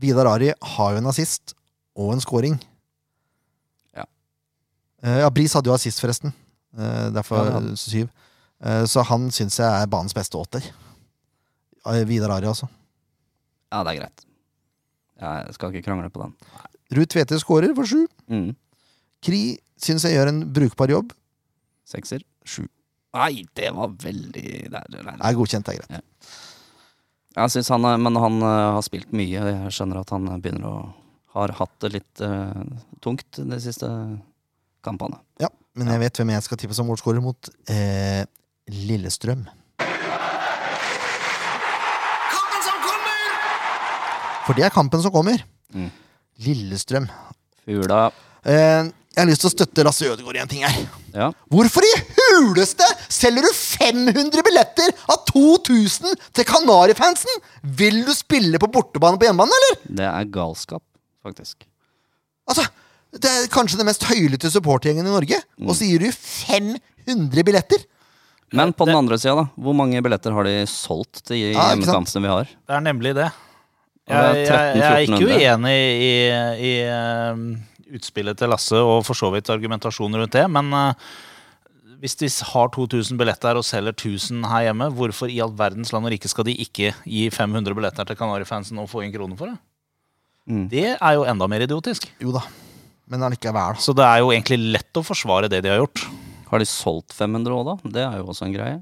Speaker 1: Vidar Ari har jo en assist og en scoring.
Speaker 3: Ja.
Speaker 1: Eh, ja, Bris hadde jo assist, forresten. Eh, derfor
Speaker 3: Ja, det hadde
Speaker 1: syv. Eh, så han syns jeg er banens beste åtter. Eh, Vidar Ari, altså.
Speaker 3: Ja, det er greit. Jeg skal ikke krangle på den.
Speaker 1: Ruud Tvedte skårer for sju.
Speaker 3: Mm.
Speaker 1: Kri syns jeg gjør en brukbar jobb.
Speaker 3: Sekser.
Speaker 1: Sju.
Speaker 3: Nei, det var veldig der, der, der.
Speaker 1: Er godkjent, det er greit.
Speaker 3: Jeg synes han, er- Men han eh, har spilt mye. og Jeg skjønner at han eh, begynner å Har hatt det litt eh, tungt de siste kampene.
Speaker 1: Ja, Men jeg vet hvem jeg skal tippe som målskårer mot eh, Lillestrøm.
Speaker 4: Kampen som kommer!
Speaker 1: For det er kampen som kommer.
Speaker 3: Mm.
Speaker 1: Lillestrøm.
Speaker 3: Fugla
Speaker 1: Eh, jeg har lyst til å støtte Lasse Ødegaard i en ting her.
Speaker 3: Ja.
Speaker 1: Hvorfor i huleste selger du 500 billetter av 2000 til Kanarifansen? Vil du spille på bortebane på hjemmebane, eller?
Speaker 3: Det er galskap, faktisk.
Speaker 1: Altså, Det er kanskje den mest høylytte supportergjengen i Norge, og så gir du 500 billetter?
Speaker 3: Men på den andre sida, da. Hvor mange billetter har de solgt til
Speaker 1: Ja, ikke sant?
Speaker 3: hjemmekampene vi har?
Speaker 2: Det er nemlig det.
Speaker 3: Ja,
Speaker 2: Jeg,
Speaker 3: det er
Speaker 2: jeg, jeg er ikke
Speaker 3: 1300.
Speaker 2: uenig i, i, um, utspillet til Lasse og for så vidt argumentasjonen rundt det, men eh, hvis de har 2000 billetter og selger 1000 her hjemme, hvorfor i all verdens land og rike skal de ikke gi 500 billetter til Kanarifansen og få inn kroner for det?
Speaker 3: Mm.
Speaker 2: Det er jo enda mer idiotisk.
Speaker 1: Jo da. Men allikevel, da.
Speaker 2: Så det er jo egentlig lett å forsvare det de har gjort.
Speaker 3: Har de solgt 500 òg, da? Det er jo også en greie.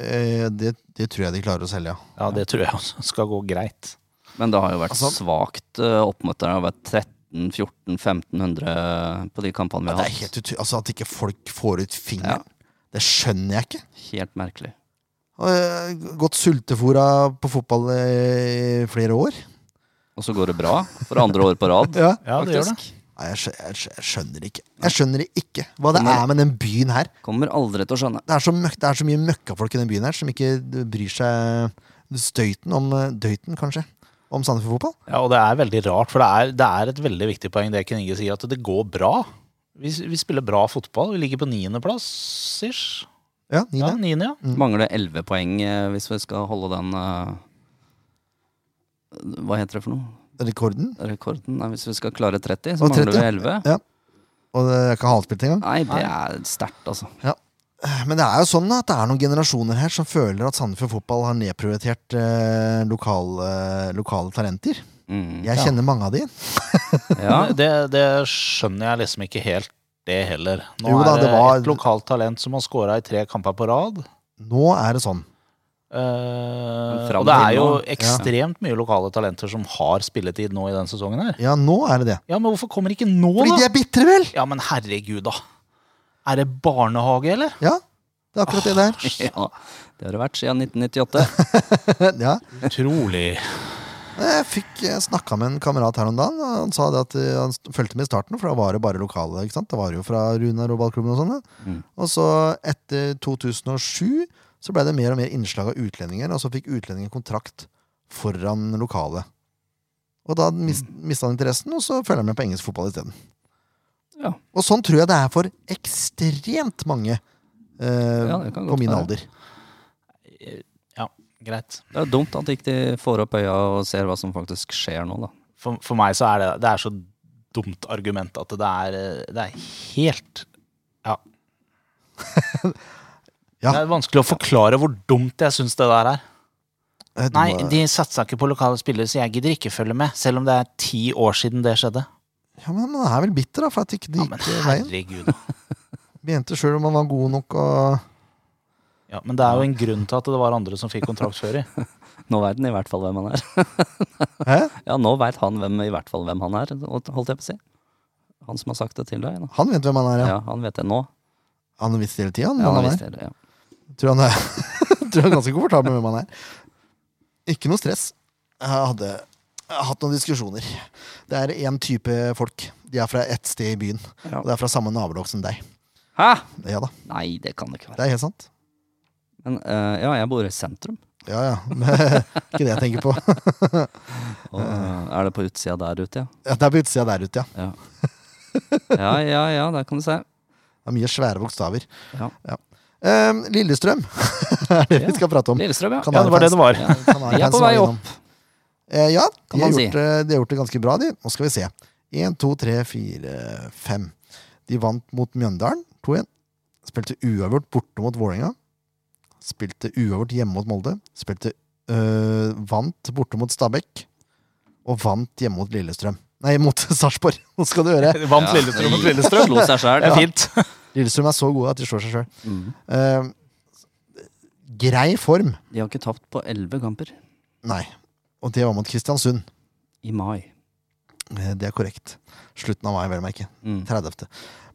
Speaker 1: Eh, Det, det tror jeg de klarer å selge, ja.
Speaker 2: Ja, det tror jeg også skal gå greit.
Speaker 3: Men det har jo vært
Speaker 1: Altså-
Speaker 3: svakt eh, oppmøte. Det har vært 13 14 1500 på de kampene vi
Speaker 1: Det
Speaker 3: har
Speaker 1: er
Speaker 3: hatt.
Speaker 1: helt utrolig. Altså, at ikke folk får ut fingeren.
Speaker 3: Ja.
Speaker 1: Det skjønner jeg ikke.
Speaker 3: Helt merkelig.
Speaker 1: Eh, Gått sultefòra på fotball i flere år.
Speaker 3: Og så går det bra for andre år på rad.
Speaker 1: Ja.
Speaker 2: Ja, det gjør det.
Speaker 1: Nei, jeg, skjø- jeg, skjø- jeg skjønner ikke Jeg skjønner ikke hva det
Speaker 3: Nei.
Speaker 1: er med den byen her.
Speaker 3: Kommer aldri til å skjønne.
Speaker 1: Det er så, møk, det er så mye møkkafolk i den byen her som ikke bryr seg støyten om eh, Døyten, kanskje. Om Sandefjord fotball.
Speaker 2: Ja, og det er veldig rart, for det er, det er et veldig viktig poeng det Ken Inge sier, at det går bra. Vi, vi spiller bra fotball. Vi ligger på niendeplass, ish.
Speaker 1: Ja,
Speaker 2: Ja,
Speaker 1: Nina.
Speaker 2: niende,
Speaker 1: Mm.
Speaker 2: ja.
Speaker 3: Mangler 11 poeng eh, hvis vi skal holde den eh, Hva heter det for noe?
Speaker 1: Rekorden.
Speaker 3: Rekorden? Nei, hvis vi skal klare 30, så
Speaker 1: Og
Speaker 3: mangler
Speaker 1: 30,
Speaker 3: vi 11.
Speaker 1: Ja. Og det er ikke halvspilt engang.
Speaker 3: Nei, det er sterkt, altså.
Speaker 1: Men det er jo sånn at det er noen generasjoner her som føler at Sandefjord fotball har nedprioritert eh, lokale, lokale talenter.
Speaker 3: Mm.
Speaker 1: Jeg kjenner mange av de.
Speaker 3: Ja.
Speaker 2: Det, det skjønner jeg liksom ikke helt, det heller. Nå
Speaker 1: Jo da,
Speaker 2: er det,
Speaker 1: det var-
Speaker 2: et lokalt talent som har scora i tre kamper på rad.
Speaker 1: Nå er det sånn.
Speaker 2: Eh,
Speaker 3: Fram
Speaker 2: og det er
Speaker 3: til
Speaker 2: jo
Speaker 3: nå, ja.
Speaker 2: ekstremt mye lokale talenter som har spilletid nå i den sesongen her.
Speaker 1: Ja, nå er det det.
Speaker 2: Ja, men hvorfor kommer ikke nå,
Speaker 1: Fordi de
Speaker 2: da?
Speaker 1: er bitre, vel!
Speaker 2: Ja, men herregud, da. Er det barnehage, eller?
Speaker 1: Ja, det er akkurat det der.
Speaker 3: ja. Det har det vært siden 1998.
Speaker 1: Ja.
Speaker 2: Utrolig.
Speaker 1: Jeg fikk snakka med en kamerat her om dagen. og Han sa det at eh, han st- fulgte med i starten, for da var det bare lokale. ikke sant? Det var jo fra Runar og ballklubben og sånn. da.
Speaker 3: Mm.
Speaker 1: Og så, etter 2007, så ble det mer og mer innslag av utlendinger, og så fikk utlendinger kontrakt foran lokale. Og da
Speaker 3: Mm.
Speaker 1: mista han interessen, og så følger han med på engelsk fotball isteden.
Speaker 3: Ja.
Speaker 1: Og sånn tror jeg det er for ekstremt mange eh,
Speaker 3: Ja, det kan
Speaker 1: på
Speaker 3: godt
Speaker 1: min
Speaker 3: være.
Speaker 1: alder.
Speaker 2: Ja, greit.
Speaker 3: Det er jo dumt at ikke de får opp øya og ser hva som faktisk skjer nå, da.
Speaker 2: For, for meg så er det, det er så dumt argument at det er, eh, det er helt Ja.
Speaker 1: Ja.
Speaker 2: Det er vanskelig å forklare hvor dumt jeg syns det der er.
Speaker 1: Eh, du
Speaker 2: Nei,
Speaker 1: må-
Speaker 2: de satsa ikke på lokale spillere, så jeg gidder ikke følge med. Selv om det er ti år siden det skjedde.
Speaker 1: ja, men han er vel bitter, da, for at ikke det
Speaker 2: Ja,
Speaker 1: gikk
Speaker 2: men
Speaker 1: eh, veien.
Speaker 2: herregud. da.
Speaker 1: Mente sjøl om han var god nok og
Speaker 2: Ja, men det er jo en grunn til at det var andre som fikk kontrakt før i.
Speaker 3: Nå veit han i hvert fall hvem han er.
Speaker 1: Hæ?
Speaker 3: Ja, nå veit han hvem, i hvert fall hvem han er, holdt jeg på å si. Han som har sagt det til deg. Da.
Speaker 1: Han vet hvem han er,
Speaker 3: Ja.
Speaker 1: ja.
Speaker 3: han vet det nå.
Speaker 1: Han har visst hele tida.
Speaker 3: Ja, han
Speaker 1: han er.
Speaker 3: visste det, ja.
Speaker 1: Tror han er Tror han er ganske komfortabel med hvem han er. Ikke noe stress. Jeg hadde jeg har hatt noen diskusjoner. Det er én type folk. De er fra ett sted i byen.
Speaker 3: Ja.
Speaker 1: Og det er fra samme nabolag som deg.
Speaker 3: Hæ?!
Speaker 1: Ja da,
Speaker 3: Nei, det kan det ikke være.
Speaker 1: det er helt sant.
Speaker 3: Men eh, ja, jeg bor i sentrum.
Speaker 1: Ja ja. Men, ikke det jeg tenker på.
Speaker 3: Og, eh, er det på utsida der ute, ja?
Speaker 1: Ja, det er på utsida der ute, ja.
Speaker 3: Ja. ja, ja, ja, der kan du se.
Speaker 1: Det er mye svære bokstaver.
Speaker 3: Ja.
Speaker 1: Eh, Lillestrøm er det vi
Speaker 3: Ja.
Speaker 1: skal prate om.
Speaker 3: Lillestrøm, ja.
Speaker 1: Kan
Speaker 2: Ja, det var det det var.
Speaker 3: Ja.
Speaker 1: Kanarifansen
Speaker 3: De er på
Speaker 1: var
Speaker 3: vei
Speaker 1: innom.
Speaker 3: opp.
Speaker 1: Eh, ja, de
Speaker 3: Kan
Speaker 1: har,
Speaker 3: man si.
Speaker 1: gjort, det- de har gjort det ganske bra, de. Nå skal vi se. Én, to, tre, fire, fem. De vant mot Mjøndalen 2-1. Spilte uavgjort borte mot Vålerenga. Spilte uavgjort hjemme mot Molde. Spilte øh, Vant borte mot Stabæk. Og vant hjemme mot Lillestrøm. Nei, mot Sarpsborg. Nå skal du høre.
Speaker 2: Vant Lillestrøm mot Lillestrøm.
Speaker 3: Slo seg sjæl.
Speaker 2: Det er fint.
Speaker 1: Lillestrøm er så gode at de slår seg sjøl.
Speaker 3: Mm.
Speaker 1: grei form.
Speaker 3: De har ikke tapt på elleve kamper
Speaker 1: Nei. Og det var mot Kristiansund.
Speaker 3: i mai.
Speaker 1: Eh, Det er korrekt. Slutten av mai, vel å merke.
Speaker 3: Mm.
Speaker 1: 30.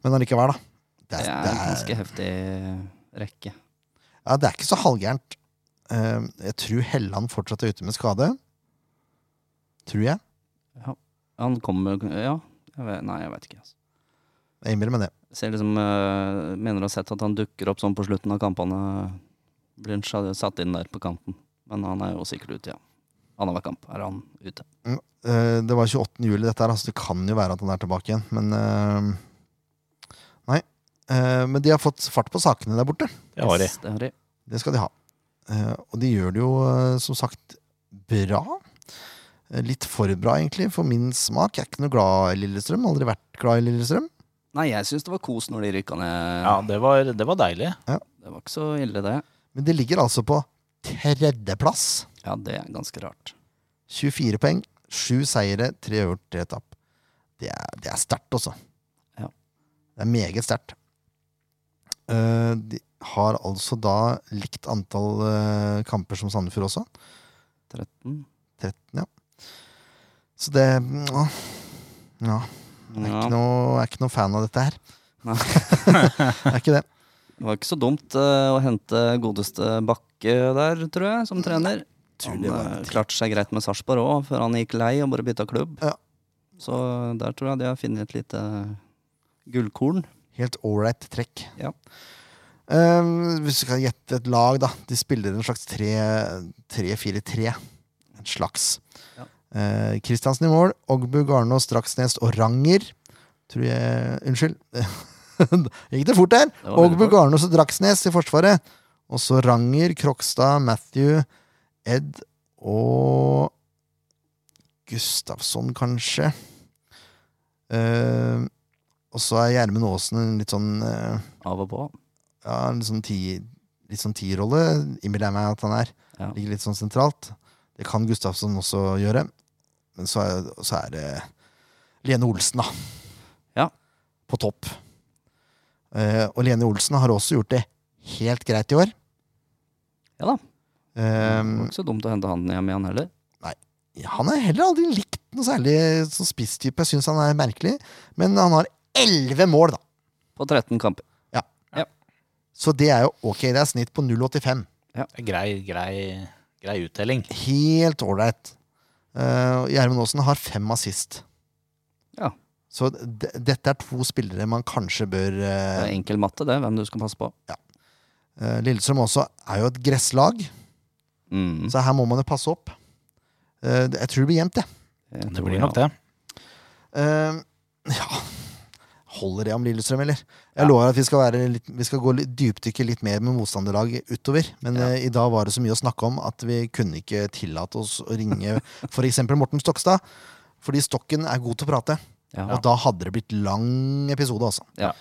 Speaker 1: Men allikevel, da. Det
Speaker 3: Det
Speaker 1: er,
Speaker 3: er en
Speaker 1: det,
Speaker 3: ganske
Speaker 1: er,
Speaker 3: heftig rekke.
Speaker 1: ja, det er ikke så halvgærent. Eh, jeg tror Helland fortsatt er ute med skade. Tror jeg.
Speaker 3: Han kommer Ja. Jeg vet, nei, jeg veit ikke. Altså.
Speaker 1: Jeg innbiller meg det.
Speaker 3: Ser liksom eh, Mener å ha sett at han dukker opp sånn på slutten av kampene. Blir han sja- satt inn der på kanten. Men han er jo sikkert ute, ja. Annenhver kamp er han ute.
Speaker 1: Mm. Eh, det var 28. juli, dette her, altså det kan jo være at han er tilbake igjen, men eh, Nei. Eh, men de har fått fart på sakene der borte.
Speaker 2: Det har de.
Speaker 3: Yes, det har de.
Speaker 1: Det skal de ha. Eh, og de gjør det jo, eh, som sagt, bra. eh, litt for bra, egentlig, for min smak. Jeg er ikke noe glad i Lillestrøm. Aldri vært glad i Lillestrøm.
Speaker 3: Nei, jeg syns det var kos når de rykka ned.
Speaker 2: Ja, det var, det var deilig.
Speaker 3: Det var ikke så ille, det.
Speaker 1: Men det ligger altså på tredjeplass.
Speaker 3: Ja, det er ganske rart.
Speaker 1: 24 poeng, 7 seire, 3 øvert, 3 tap. Det er, det er sterkt, altså.
Speaker 3: Ja.
Speaker 1: Det er meget sterkt. Eh, de har altså da likt antall eh, kamper som Sandefjord også.
Speaker 3: 13.
Speaker 1: 13, ja. Så det mm, åh. Ja. Jeg er,
Speaker 3: Ja,
Speaker 1: Mm, Ikke noe, jeg er ikke noe fan av dette her.
Speaker 3: Nei.
Speaker 1: jeg er ikke det.
Speaker 3: det var ikke så dumt eh, å hente godeste Bakke der, tror jeg, som trener.
Speaker 1: Tror
Speaker 3: Han
Speaker 1: det var
Speaker 3: eh, klarte seg greit med Sarpsborg òg, før han gikk lei og bare bytta klubb.
Speaker 1: Ja.
Speaker 3: Så der tror jeg de har funnet et lite gullkorn.
Speaker 1: Helt ålreit trekk.
Speaker 3: Ja.
Speaker 1: Eh, hvis du kan gjette et lag, da. De spiller en slags 3-4-3. En slags.
Speaker 3: Ja.
Speaker 1: Eh, Kristiansen i mål. Ogbu, Garnås, Straksnes og Ranger. Tror jeg Unnskyld. Gikk det fort der?
Speaker 3: Det var veldig
Speaker 1: Ogbu,
Speaker 3: fort.
Speaker 1: Garnås og Draksnes i Forsvaret. Og så Ranger, Krokstad, Matthew, Ed og Gustavsson, kanskje. Eh, og så er Gjermund Aasen en litt sånn eh,
Speaker 3: Av og på.
Speaker 1: ja, en litt sånn ti- litt sånn ti-rolle, innbiller jeg meg at han er.
Speaker 3: Ja.
Speaker 1: Ligger litt sånn sentralt. Det kan Gustavsson også gjøre. Men så er, så er det Lene Olsen, da.
Speaker 3: Ja.
Speaker 1: På topp. Eh, og Lene Olsen har også gjort det helt greit i år.
Speaker 3: Ja da.
Speaker 1: Eh,
Speaker 3: det var ikke så dumt å hente han hjem igjen heller.
Speaker 1: han har heller aldri likt noe særlig som spisstype. Jeg syns han er merkelig. Men han har elleve mål, da.
Speaker 3: På 13 kamper.
Speaker 1: Så det er jo ok. Det er snitt på 0,85.
Speaker 2: Grei, grei, grei uttelling.
Speaker 1: Helt ålreit. Eh, og Gjermund Aasen har fem assist.
Speaker 3: Ja.
Speaker 1: Så d dette er to spillere man kanskje bør
Speaker 3: Det
Speaker 1: eh,
Speaker 3: er enkel matte, det. Hvem du skal passe på.
Speaker 1: eh, Lillestrøm også er jo et gresslag,
Speaker 3: Mm.
Speaker 1: så her må man jo passe opp. Eh, det- jeg tror det blir jevnt, jeg.
Speaker 3: Jeg
Speaker 2: Det
Speaker 3: tror
Speaker 2: blir
Speaker 3: jeg
Speaker 2: nok det.
Speaker 1: Eh, ja Holder det om Lillestrøm, eller? Jeg lover at vi skal, være litt, vi skal gå litt, dypdykke litt mer med motstanderlag utover. Men eh, i dag var det så mye å snakke om at vi kunne ikke tillate oss å ringe f.eks. Morten Stokstad. Fordi Stokken er god til å prate.
Speaker 3: Ja.
Speaker 1: Og da hadde det blitt lang episode, altså.
Speaker 3: Ja.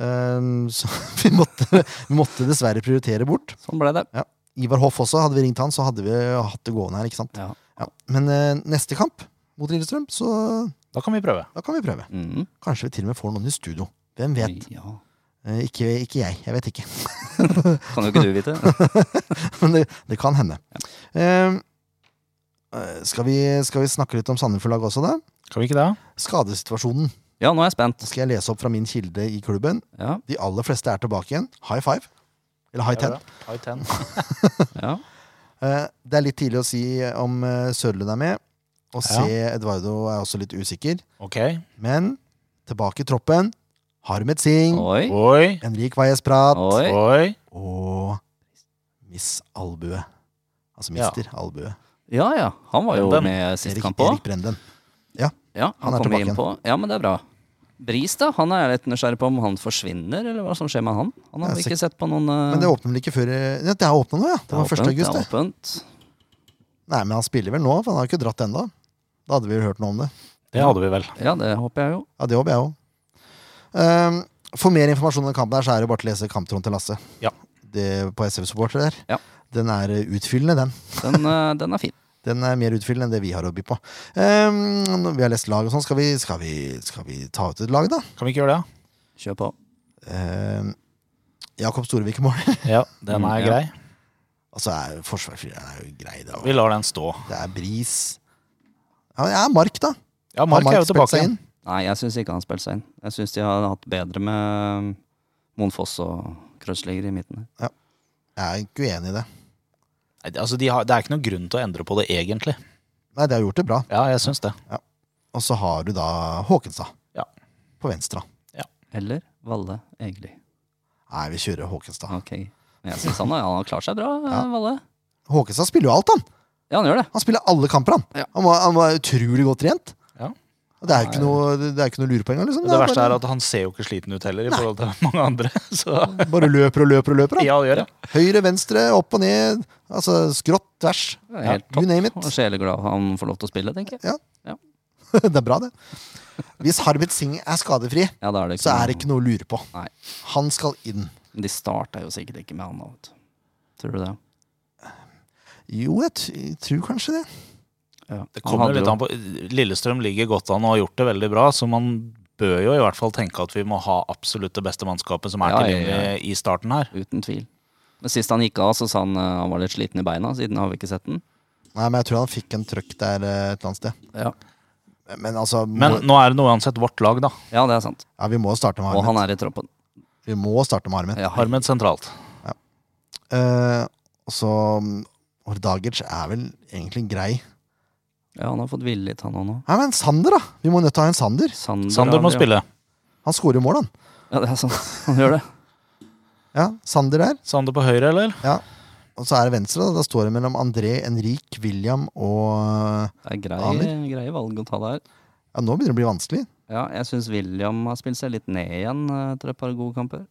Speaker 1: Ehm, så vi måtte, vi måtte dessverre prioritere bort.
Speaker 3: Sånn ble det.
Speaker 1: Ivar Hoff også. Hadde vi ringt han, så hadde vi hatt det gående her. ikke sant?
Speaker 3: Ja.
Speaker 1: Ja. Men eh, neste kamp mot Lillestrøm, så
Speaker 2: Da kan vi prøve.
Speaker 1: da kan vi prøve.
Speaker 3: Mm.
Speaker 1: Kanskje vi til og med får noen i studio. Hvem vet?
Speaker 3: ja.
Speaker 1: Eh, ikke, ikke jeg. Jeg vet ikke.
Speaker 3: Kan jo ikke du vite.
Speaker 1: Men det, det kan hende. Ehm, eh, skal, vi, skal vi snakke litt om Sandefjord-laget også, da?
Speaker 2: Kan vi ikke det?
Speaker 1: Skadesituasjonen.
Speaker 3: Ja, nå er jeg spent.
Speaker 1: Da skal jeg lese opp fra min kilde i klubben.
Speaker 3: Ja,
Speaker 1: De aller fleste er tilbake igjen. High five. Eller high ten.
Speaker 2: High ten.
Speaker 3: ja.
Speaker 1: Eh, Det er litt tidlig å si om eh, Sørlund er med. Og se Eduardo er også litt usikker.
Speaker 2: Ok.
Speaker 1: Men tilbake i troppen. Harmet Singh,
Speaker 3: Oi.
Speaker 2: Oi.
Speaker 1: Henrik Wajez Prat
Speaker 3: Oi.
Speaker 2: Oi.
Speaker 1: og Miss Albue. Altså Mister Albue.
Speaker 3: Ja, ja. Han var jo
Speaker 2: Brenden.
Speaker 3: med sist
Speaker 1: Erik,
Speaker 3: kamp òg.
Speaker 1: Erik Brenden.
Speaker 3: Ja, han,
Speaker 1: han er
Speaker 3: kommer
Speaker 1: tilbake
Speaker 3: inn på. Ja, men det er bra. Bris, da? Han er jeg litt nysgjerrig på om han forsvinner, eller hva som skjer med han. Han har
Speaker 1: Det
Speaker 3: vi
Speaker 1: er
Speaker 3: ikke sett på noen eh,
Speaker 1: Men det åpner vel ikke før ja, Det er åpna nå, ja. Det var 1.
Speaker 3: åpent,
Speaker 1: august, det.
Speaker 3: Det er åpent.
Speaker 1: Nei, men han spiller vel nå, for han har ikke dratt ennå. Da hadde vi vel hørt noe om det.
Speaker 2: Det hadde vi vel.
Speaker 3: Ja, det håper jeg jo.
Speaker 1: Ja, det håper jeg òg. Um, for mer informasjon om kampen her, så er det bare til å lese kamptråden til Lasse.
Speaker 2: Ja.
Speaker 1: Det, på SV Supporter der.
Speaker 3: Ja.
Speaker 1: Den er eh, utfyllende, den.
Speaker 3: Den, eh, den er fin.
Speaker 1: Den er mer utfyllende enn det vi har å by på. Ehm, når vi har lest lag og sånn. Skal, vi- skal, vi- skal vi ta ut et lag, da?
Speaker 2: Kan vi ikke gjøre det?
Speaker 3: Kjør på.
Speaker 1: Ehm, Jakob Storevik i mål.
Speaker 2: Ja, den
Speaker 3: Mm,
Speaker 2: er
Speaker 3: ja.
Speaker 2: grei.
Speaker 1: Altså, er forsvarsfyren er jo grei, da.
Speaker 2: Vi lar den stå.
Speaker 1: Det er Bris. Ja, det er Mark, da.
Speaker 2: Ja, Mark er jo
Speaker 1: spilt
Speaker 2: tilbake
Speaker 1: seg
Speaker 2: igjen.
Speaker 1: inn?
Speaker 3: Nei, jeg syns ikke han spilte seg inn. Jeg syns de har hatt bedre med eh, Moen Foss og Krødsliger i midten.
Speaker 1: Jeg er ikke uenig i det.
Speaker 2: Nei, det- Altså, de har, det er ikke noen grunn til å endre på det, egentlig.
Speaker 1: Nei, de har gjort det bra.
Speaker 2: Ja, jeg syns det.
Speaker 1: Og så har du da Håkenstad.
Speaker 2: Ja.
Speaker 1: På venstre.
Speaker 3: Eller Valle Egli.
Speaker 1: Nei, vi kjører Håkenstad.
Speaker 3: Ok. Men jeg syns han, har- han har klart seg bra, eh,
Speaker 1: Ja.
Speaker 3: Valle.
Speaker 1: Håkenstad spiller jo alt, han!
Speaker 3: Ja, han gjør det.
Speaker 1: Han spiller alle kamper, han.
Speaker 3: Ja.
Speaker 1: Han, var, han var utrolig godt trent.
Speaker 2: Ja.
Speaker 1: Og Det er jo ikke noe, det er ikke noe lure på engang. Liksom.
Speaker 2: Det verste er
Speaker 1: bare,
Speaker 2: at han ser jo ikke sliten ut heller, i forhold til mange andre. Så
Speaker 1: bare løper og løper og løper. Da.
Speaker 2: ja, det gjør det.
Speaker 1: Høyre, venstre, opp og ned. Altså skrått, tvers.
Speaker 3: Det er helt
Speaker 1: Ja, you name
Speaker 3: topp.
Speaker 1: it.
Speaker 3: Og sjeleglad han får lov til å spille, tenker jeg.
Speaker 1: det er bra, det. Hvis Harbit Singh er skadefri,
Speaker 3: Ja, da er det ikke
Speaker 1: så er det
Speaker 3: noe-
Speaker 1: ikke noe å lure på.
Speaker 3: Nei.
Speaker 1: Han skal inn.
Speaker 3: Men De starta jo sikkert ikke med han, da, vet du. Tror du det?
Speaker 1: Jo, jeg, t jeg tror kanskje det.
Speaker 3: Ja. Han
Speaker 2: det kommer
Speaker 3: hadde
Speaker 2: jo litt
Speaker 3: jo-
Speaker 2: an på Lillestrøm ligger godt an og har gjort det veldig bra, så man bør jo i hvert fall tenke at vi må ha absolutt det beste mannskapet som er
Speaker 3: Ja, ja, ja.
Speaker 2: tilgjengelig i starten her.
Speaker 3: Uten tvil. Men sist han gikk av, så sa han eh, han var litt sliten i beina. Siden har vi ikke sett den.
Speaker 1: Nei, men jeg tror han fikk en trøkk der eh, et eller annet sted.
Speaker 3: Ja,
Speaker 1: Men altså, må,
Speaker 2: Men nå er det noe uansett vårt lag, da.
Speaker 3: det er sant.
Speaker 1: ja, vi må starte med
Speaker 3: Og
Speaker 1: Harmet.
Speaker 3: han er i troppen.
Speaker 1: Vi må starte med Harmet.
Speaker 3: Ja,
Speaker 2: Harmed sentralt.
Speaker 1: Eh, og så mm, Ordagic er vel egentlig grei.
Speaker 3: ja han har fått hvile litt, han òg nå.
Speaker 1: Nei, men Sander, da! Vi må nødt til å ha en Sander.
Speaker 3: Sander,
Speaker 2: Sander må
Speaker 3: har-
Speaker 2: spille.
Speaker 1: Han scorer mål, han.
Speaker 3: Ja, det er sant. Han gjør det.
Speaker 1: Ja, Sander der.
Speaker 2: Sander på høyre, eller?
Speaker 1: Og så er det venstre. Da, da står det mellom André, Henrik, William og
Speaker 3: Det er greie,
Speaker 1: Aner.
Speaker 3: greie valg å ta der.
Speaker 1: Ja, nå begynner det å bli vanskelig.
Speaker 3: Ja, jeg syns William har spilt seg litt ned igjen eh, etter et par gode kamper.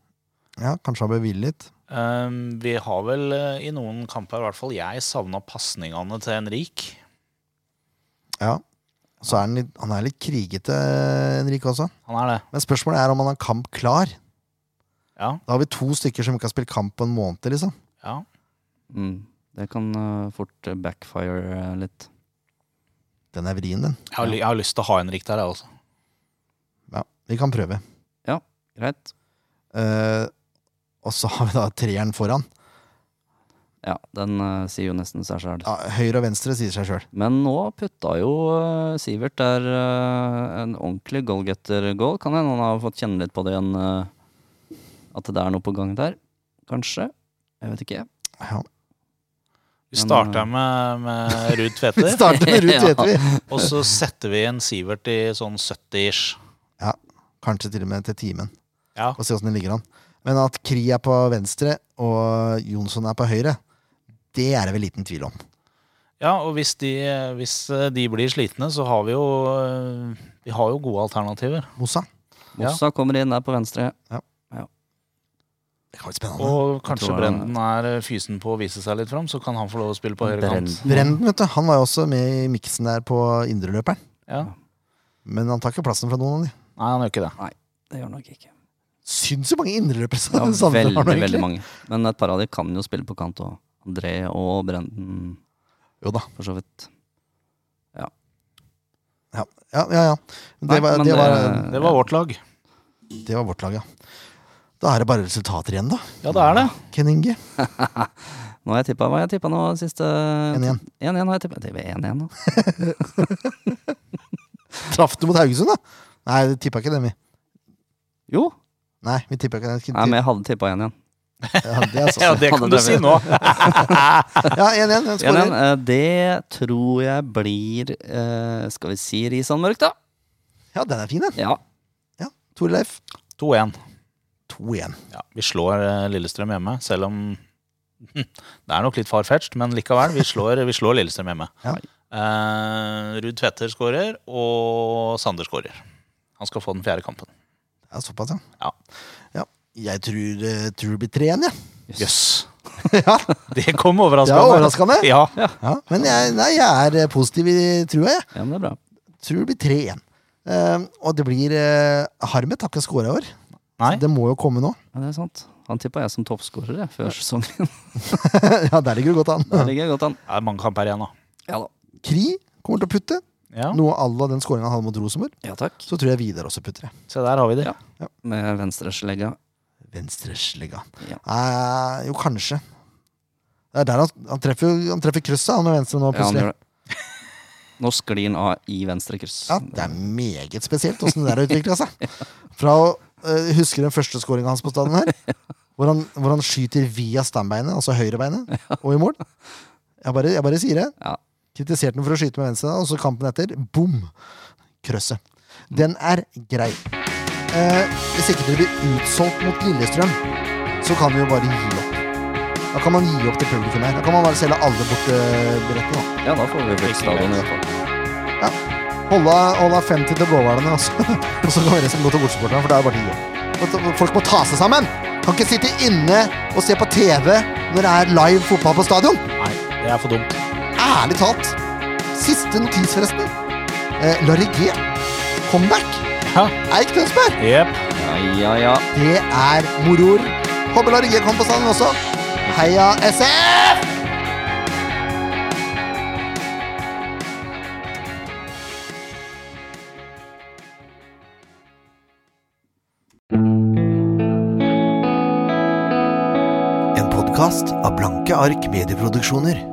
Speaker 1: Ja, Kanskje han bør hvile litt.
Speaker 2: Ehm, vi har vel eh, i noen kamper, i hvert fall jeg, savna pasningene til Henrik.
Speaker 1: Ja. Og så er han litt, han er litt krigete, Henrik også.
Speaker 2: Han er det.
Speaker 1: Men spørsmålet er om han har kamp klar.
Speaker 2: Ja.
Speaker 1: Da har vi to stykker som ikke har spilt kamp på en måned, liksom.
Speaker 2: ja.
Speaker 3: Mm. Det kan eh, fort eh, backfire eh, litt.
Speaker 1: Den er vrien, den.
Speaker 2: Jeg, har, ly- jeg har lyst til å ha Henrik der, jeg også.
Speaker 1: Ja, vi kan prøve.
Speaker 3: Greit.
Speaker 1: Eh, og så har vi da treeren foran.
Speaker 3: Ja, den eh, sier jo nesten seg sjøl.
Speaker 1: Ja, høyre og venstre sier seg sjøl.
Speaker 3: Men nå putta jo eh, Sivert der eh, en ordentlig goalgetter-goal. Kan hende han har fått kjenne litt på det igjen, eh, at det er noe på gang der. Kanskje. Jeg vet ikke.
Speaker 1: Ja.
Speaker 2: Vi
Speaker 3: Men,
Speaker 2: starter med, med Ruud
Speaker 1: Vi
Speaker 2: Tvedter,
Speaker 1: starter med Ruth, vet vi.
Speaker 2: og så setter vi en Sivert i sånn 70-ish.
Speaker 1: Kanskje til og med til timen.
Speaker 2: Ja.
Speaker 1: Og se åssen det ligger an. Men at Kri er på venstre og Jonsson er på høyre, det er det vel liten tvil om.
Speaker 2: ja, og hvis de, hvis eh, de blir slitne, så har vi jo eh, Vi har jo gode alternativer.
Speaker 1: Mossa.
Speaker 2: Ja.
Speaker 3: Mossa kommer inn der på venstre.
Speaker 1: Det kan bli spennende.
Speaker 2: Og kanskje
Speaker 3: tror han-
Speaker 2: Brenden er eh, fysen på å vise seg litt fram, så kan han få lov å spille på høyre kant.
Speaker 3: Brenden.
Speaker 1: Brenden vet du, han var jo også med i miksen der på indreløperen.
Speaker 2: Ja.
Speaker 1: Men han tar ikke plassen fra noen av de.
Speaker 2: Nei, han gjør ikke det.
Speaker 3: Det gjør nok ikke.
Speaker 1: Syns jo mange indreløpere som
Speaker 3: Ja,
Speaker 1: Sandefjord
Speaker 3: veldig,
Speaker 1: har nå, egentlig.
Speaker 3: veldig mange. Men et par av de kan jo spille på kant òg. André og Brenden,
Speaker 1: Jo da.
Speaker 3: for så vidt.
Speaker 1: Ja, ja, ja. Men Det
Speaker 3: Nei,
Speaker 1: var,
Speaker 3: men eh,
Speaker 1: det, var,
Speaker 2: Det var vårt lag.
Speaker 1: det var vårt lag, ja. Da er det bare resultater igjen, da.
Speaker 2: Ja, det er det.
Speaker 1: Ken Inge.
Speaker 3: Nå har jeg tippa hva har jeg tippa nå siste
Speaker 1: 1-1.
Speaker 3: 1-1 har jeg tippa. Det er 1-1 nå.
Speaker 1: Traff du mot Haugesund, da? Nei, vi tippa ikke den, vi.
Speaker 3: Jo,
Speaker 1: Nei, vi tippa ikke den.
Speaker 3: nei, men jeg hadde tippa 1-1.
Speaker 1: Ja, det er
Speaker 2: Ja,
Speaker 1: sånn.
Speaker 2: det kan du si nå.
Speaker 1: Ja, 1-1. Den
Speaker 3: 1-1,
Speaker 1: skårer.
Speaker 3: eh, Det tror jeg blir eh, Skal vi si Risan Mørk, da?
Speaker 1: Ja, den er fin, den.
Speaker 3: Ja.
Speaker 1: Torleif.
Speaker 2: 2-1.
Speaker 1: 2-1.
Speaker 2: Ja, vi slår eh, Lillestrøm hjemme, selv om det er nok litt farfetched, men likevel. Vi slår, vi slår Lillestrøm hjemme.
Speaker 1: Ja.
Speaker 2: Eh, Ruud Tvedter skårer, og Sander skårer. Han skal få den fjerde kampen.
Speaker 1: Ja, såpass,
Speaker 2: Ja.
Speaker 1: ja. ja. Jeg tror, eh, tror det blir 3-1, jeg.
Speaker 2: Jøss.
Speaker 1: Ja.
Speaker 2: Det kom
Speaker 1: Det
Speaker 2: overraskende.
Speaker 1: er overraskende.
Speaker 2: Ja.
Speaker 1: Ja, men jeg, nei, jeg er eh, positiv i trua, jeg.
Speaker 3: ja, men det er bra.
Speaker 1: Tror det blir 3-1. Eh, og det blir uh, Harmet har ikke skåra i år.
Speaker 2: Nei.
Speaker 1: Det må jo komme nå.
Speaker 3: Ja, det er sant. Han tippa jeg som toppskårer jeg, før sesongen.
Speaker 1: ja, Der ligger du godt an.
Speaker 3: Der ligger jeg godt an.
Speaker 2: Det er mange kamper igjen, da.
Speaker 3: Ja da.
Speaker 1: Kri kommer til å putte.
Speaker 2: Ja,
Speaker 1: Noe à la den skåringa han hadde mot Rosenborg.
Speaker 3: Ja takk.
Speaker 1: Så tror jeg Vidar også putter. jeg.
Speaker 2: Se, der har vi det.
Speaker 3: Ja. Med venstreslegga.
Speaker 1: Venstreslegga.
Speaker 3: Ja.
Speaker 1: Eh, jo, kanskje. Det er der han, han treffer jo- Han treffer krysset, han med venstre nå,
Speaker 3: Ja, han
Speaker 1: plutselig.
Speaker 3: gjør det. Nå sklir han av i venstre kryss.
Speaker 1: Ja, det er meget spesielt åssen det der har utvikla seg. Fra å eh, Husker den første skåringa hans på stadion her? Hvor han, hvor han skyter via stambeinet, altså høyrebeinet, og i mål. Jeg bare, jeg bare sier det.
Speaker 3: Ja.
Speaker 1: Kritiserte den for å skyte med venstre, og så kampen etter. Bom! Krøsset. Den er grei. Eh, hvis ikke dere blir utsolgt mot Lillestrøm, så kan vi jo bare gi opp. Da kan man gi opp til publikum her. Da kan man bare selge alle bortebillettene, da.
Speaker 3: Ja, da får vi brukt stadion i hvert fall.
Speaker 1: Ja. Holde, holde 50 til blåhvalene, altså. og så kan resten gå til bortsporterne, for det er bare de. Og så- Folk må ta seg sammen! Kan ikke sitte inne og se på TV når det er live fotball på stadion!
Speaker 2: Nei, det er for dumt.
Speaker 1: Ærlig talt! Siste notis, forresten. Eh, Larry G. Comeback.
Speaker 2: Ja.
Speaker 1: Eik Tønsberg.
Speaker 2: Jep.
Speaker 3: Ja, ja, ja.
Speaker 1: Det er moroer. Håper Larry G kommer på stadion også. Heia SF!
Speaker 5: En podkast av Blanke ark medieproduksjoner.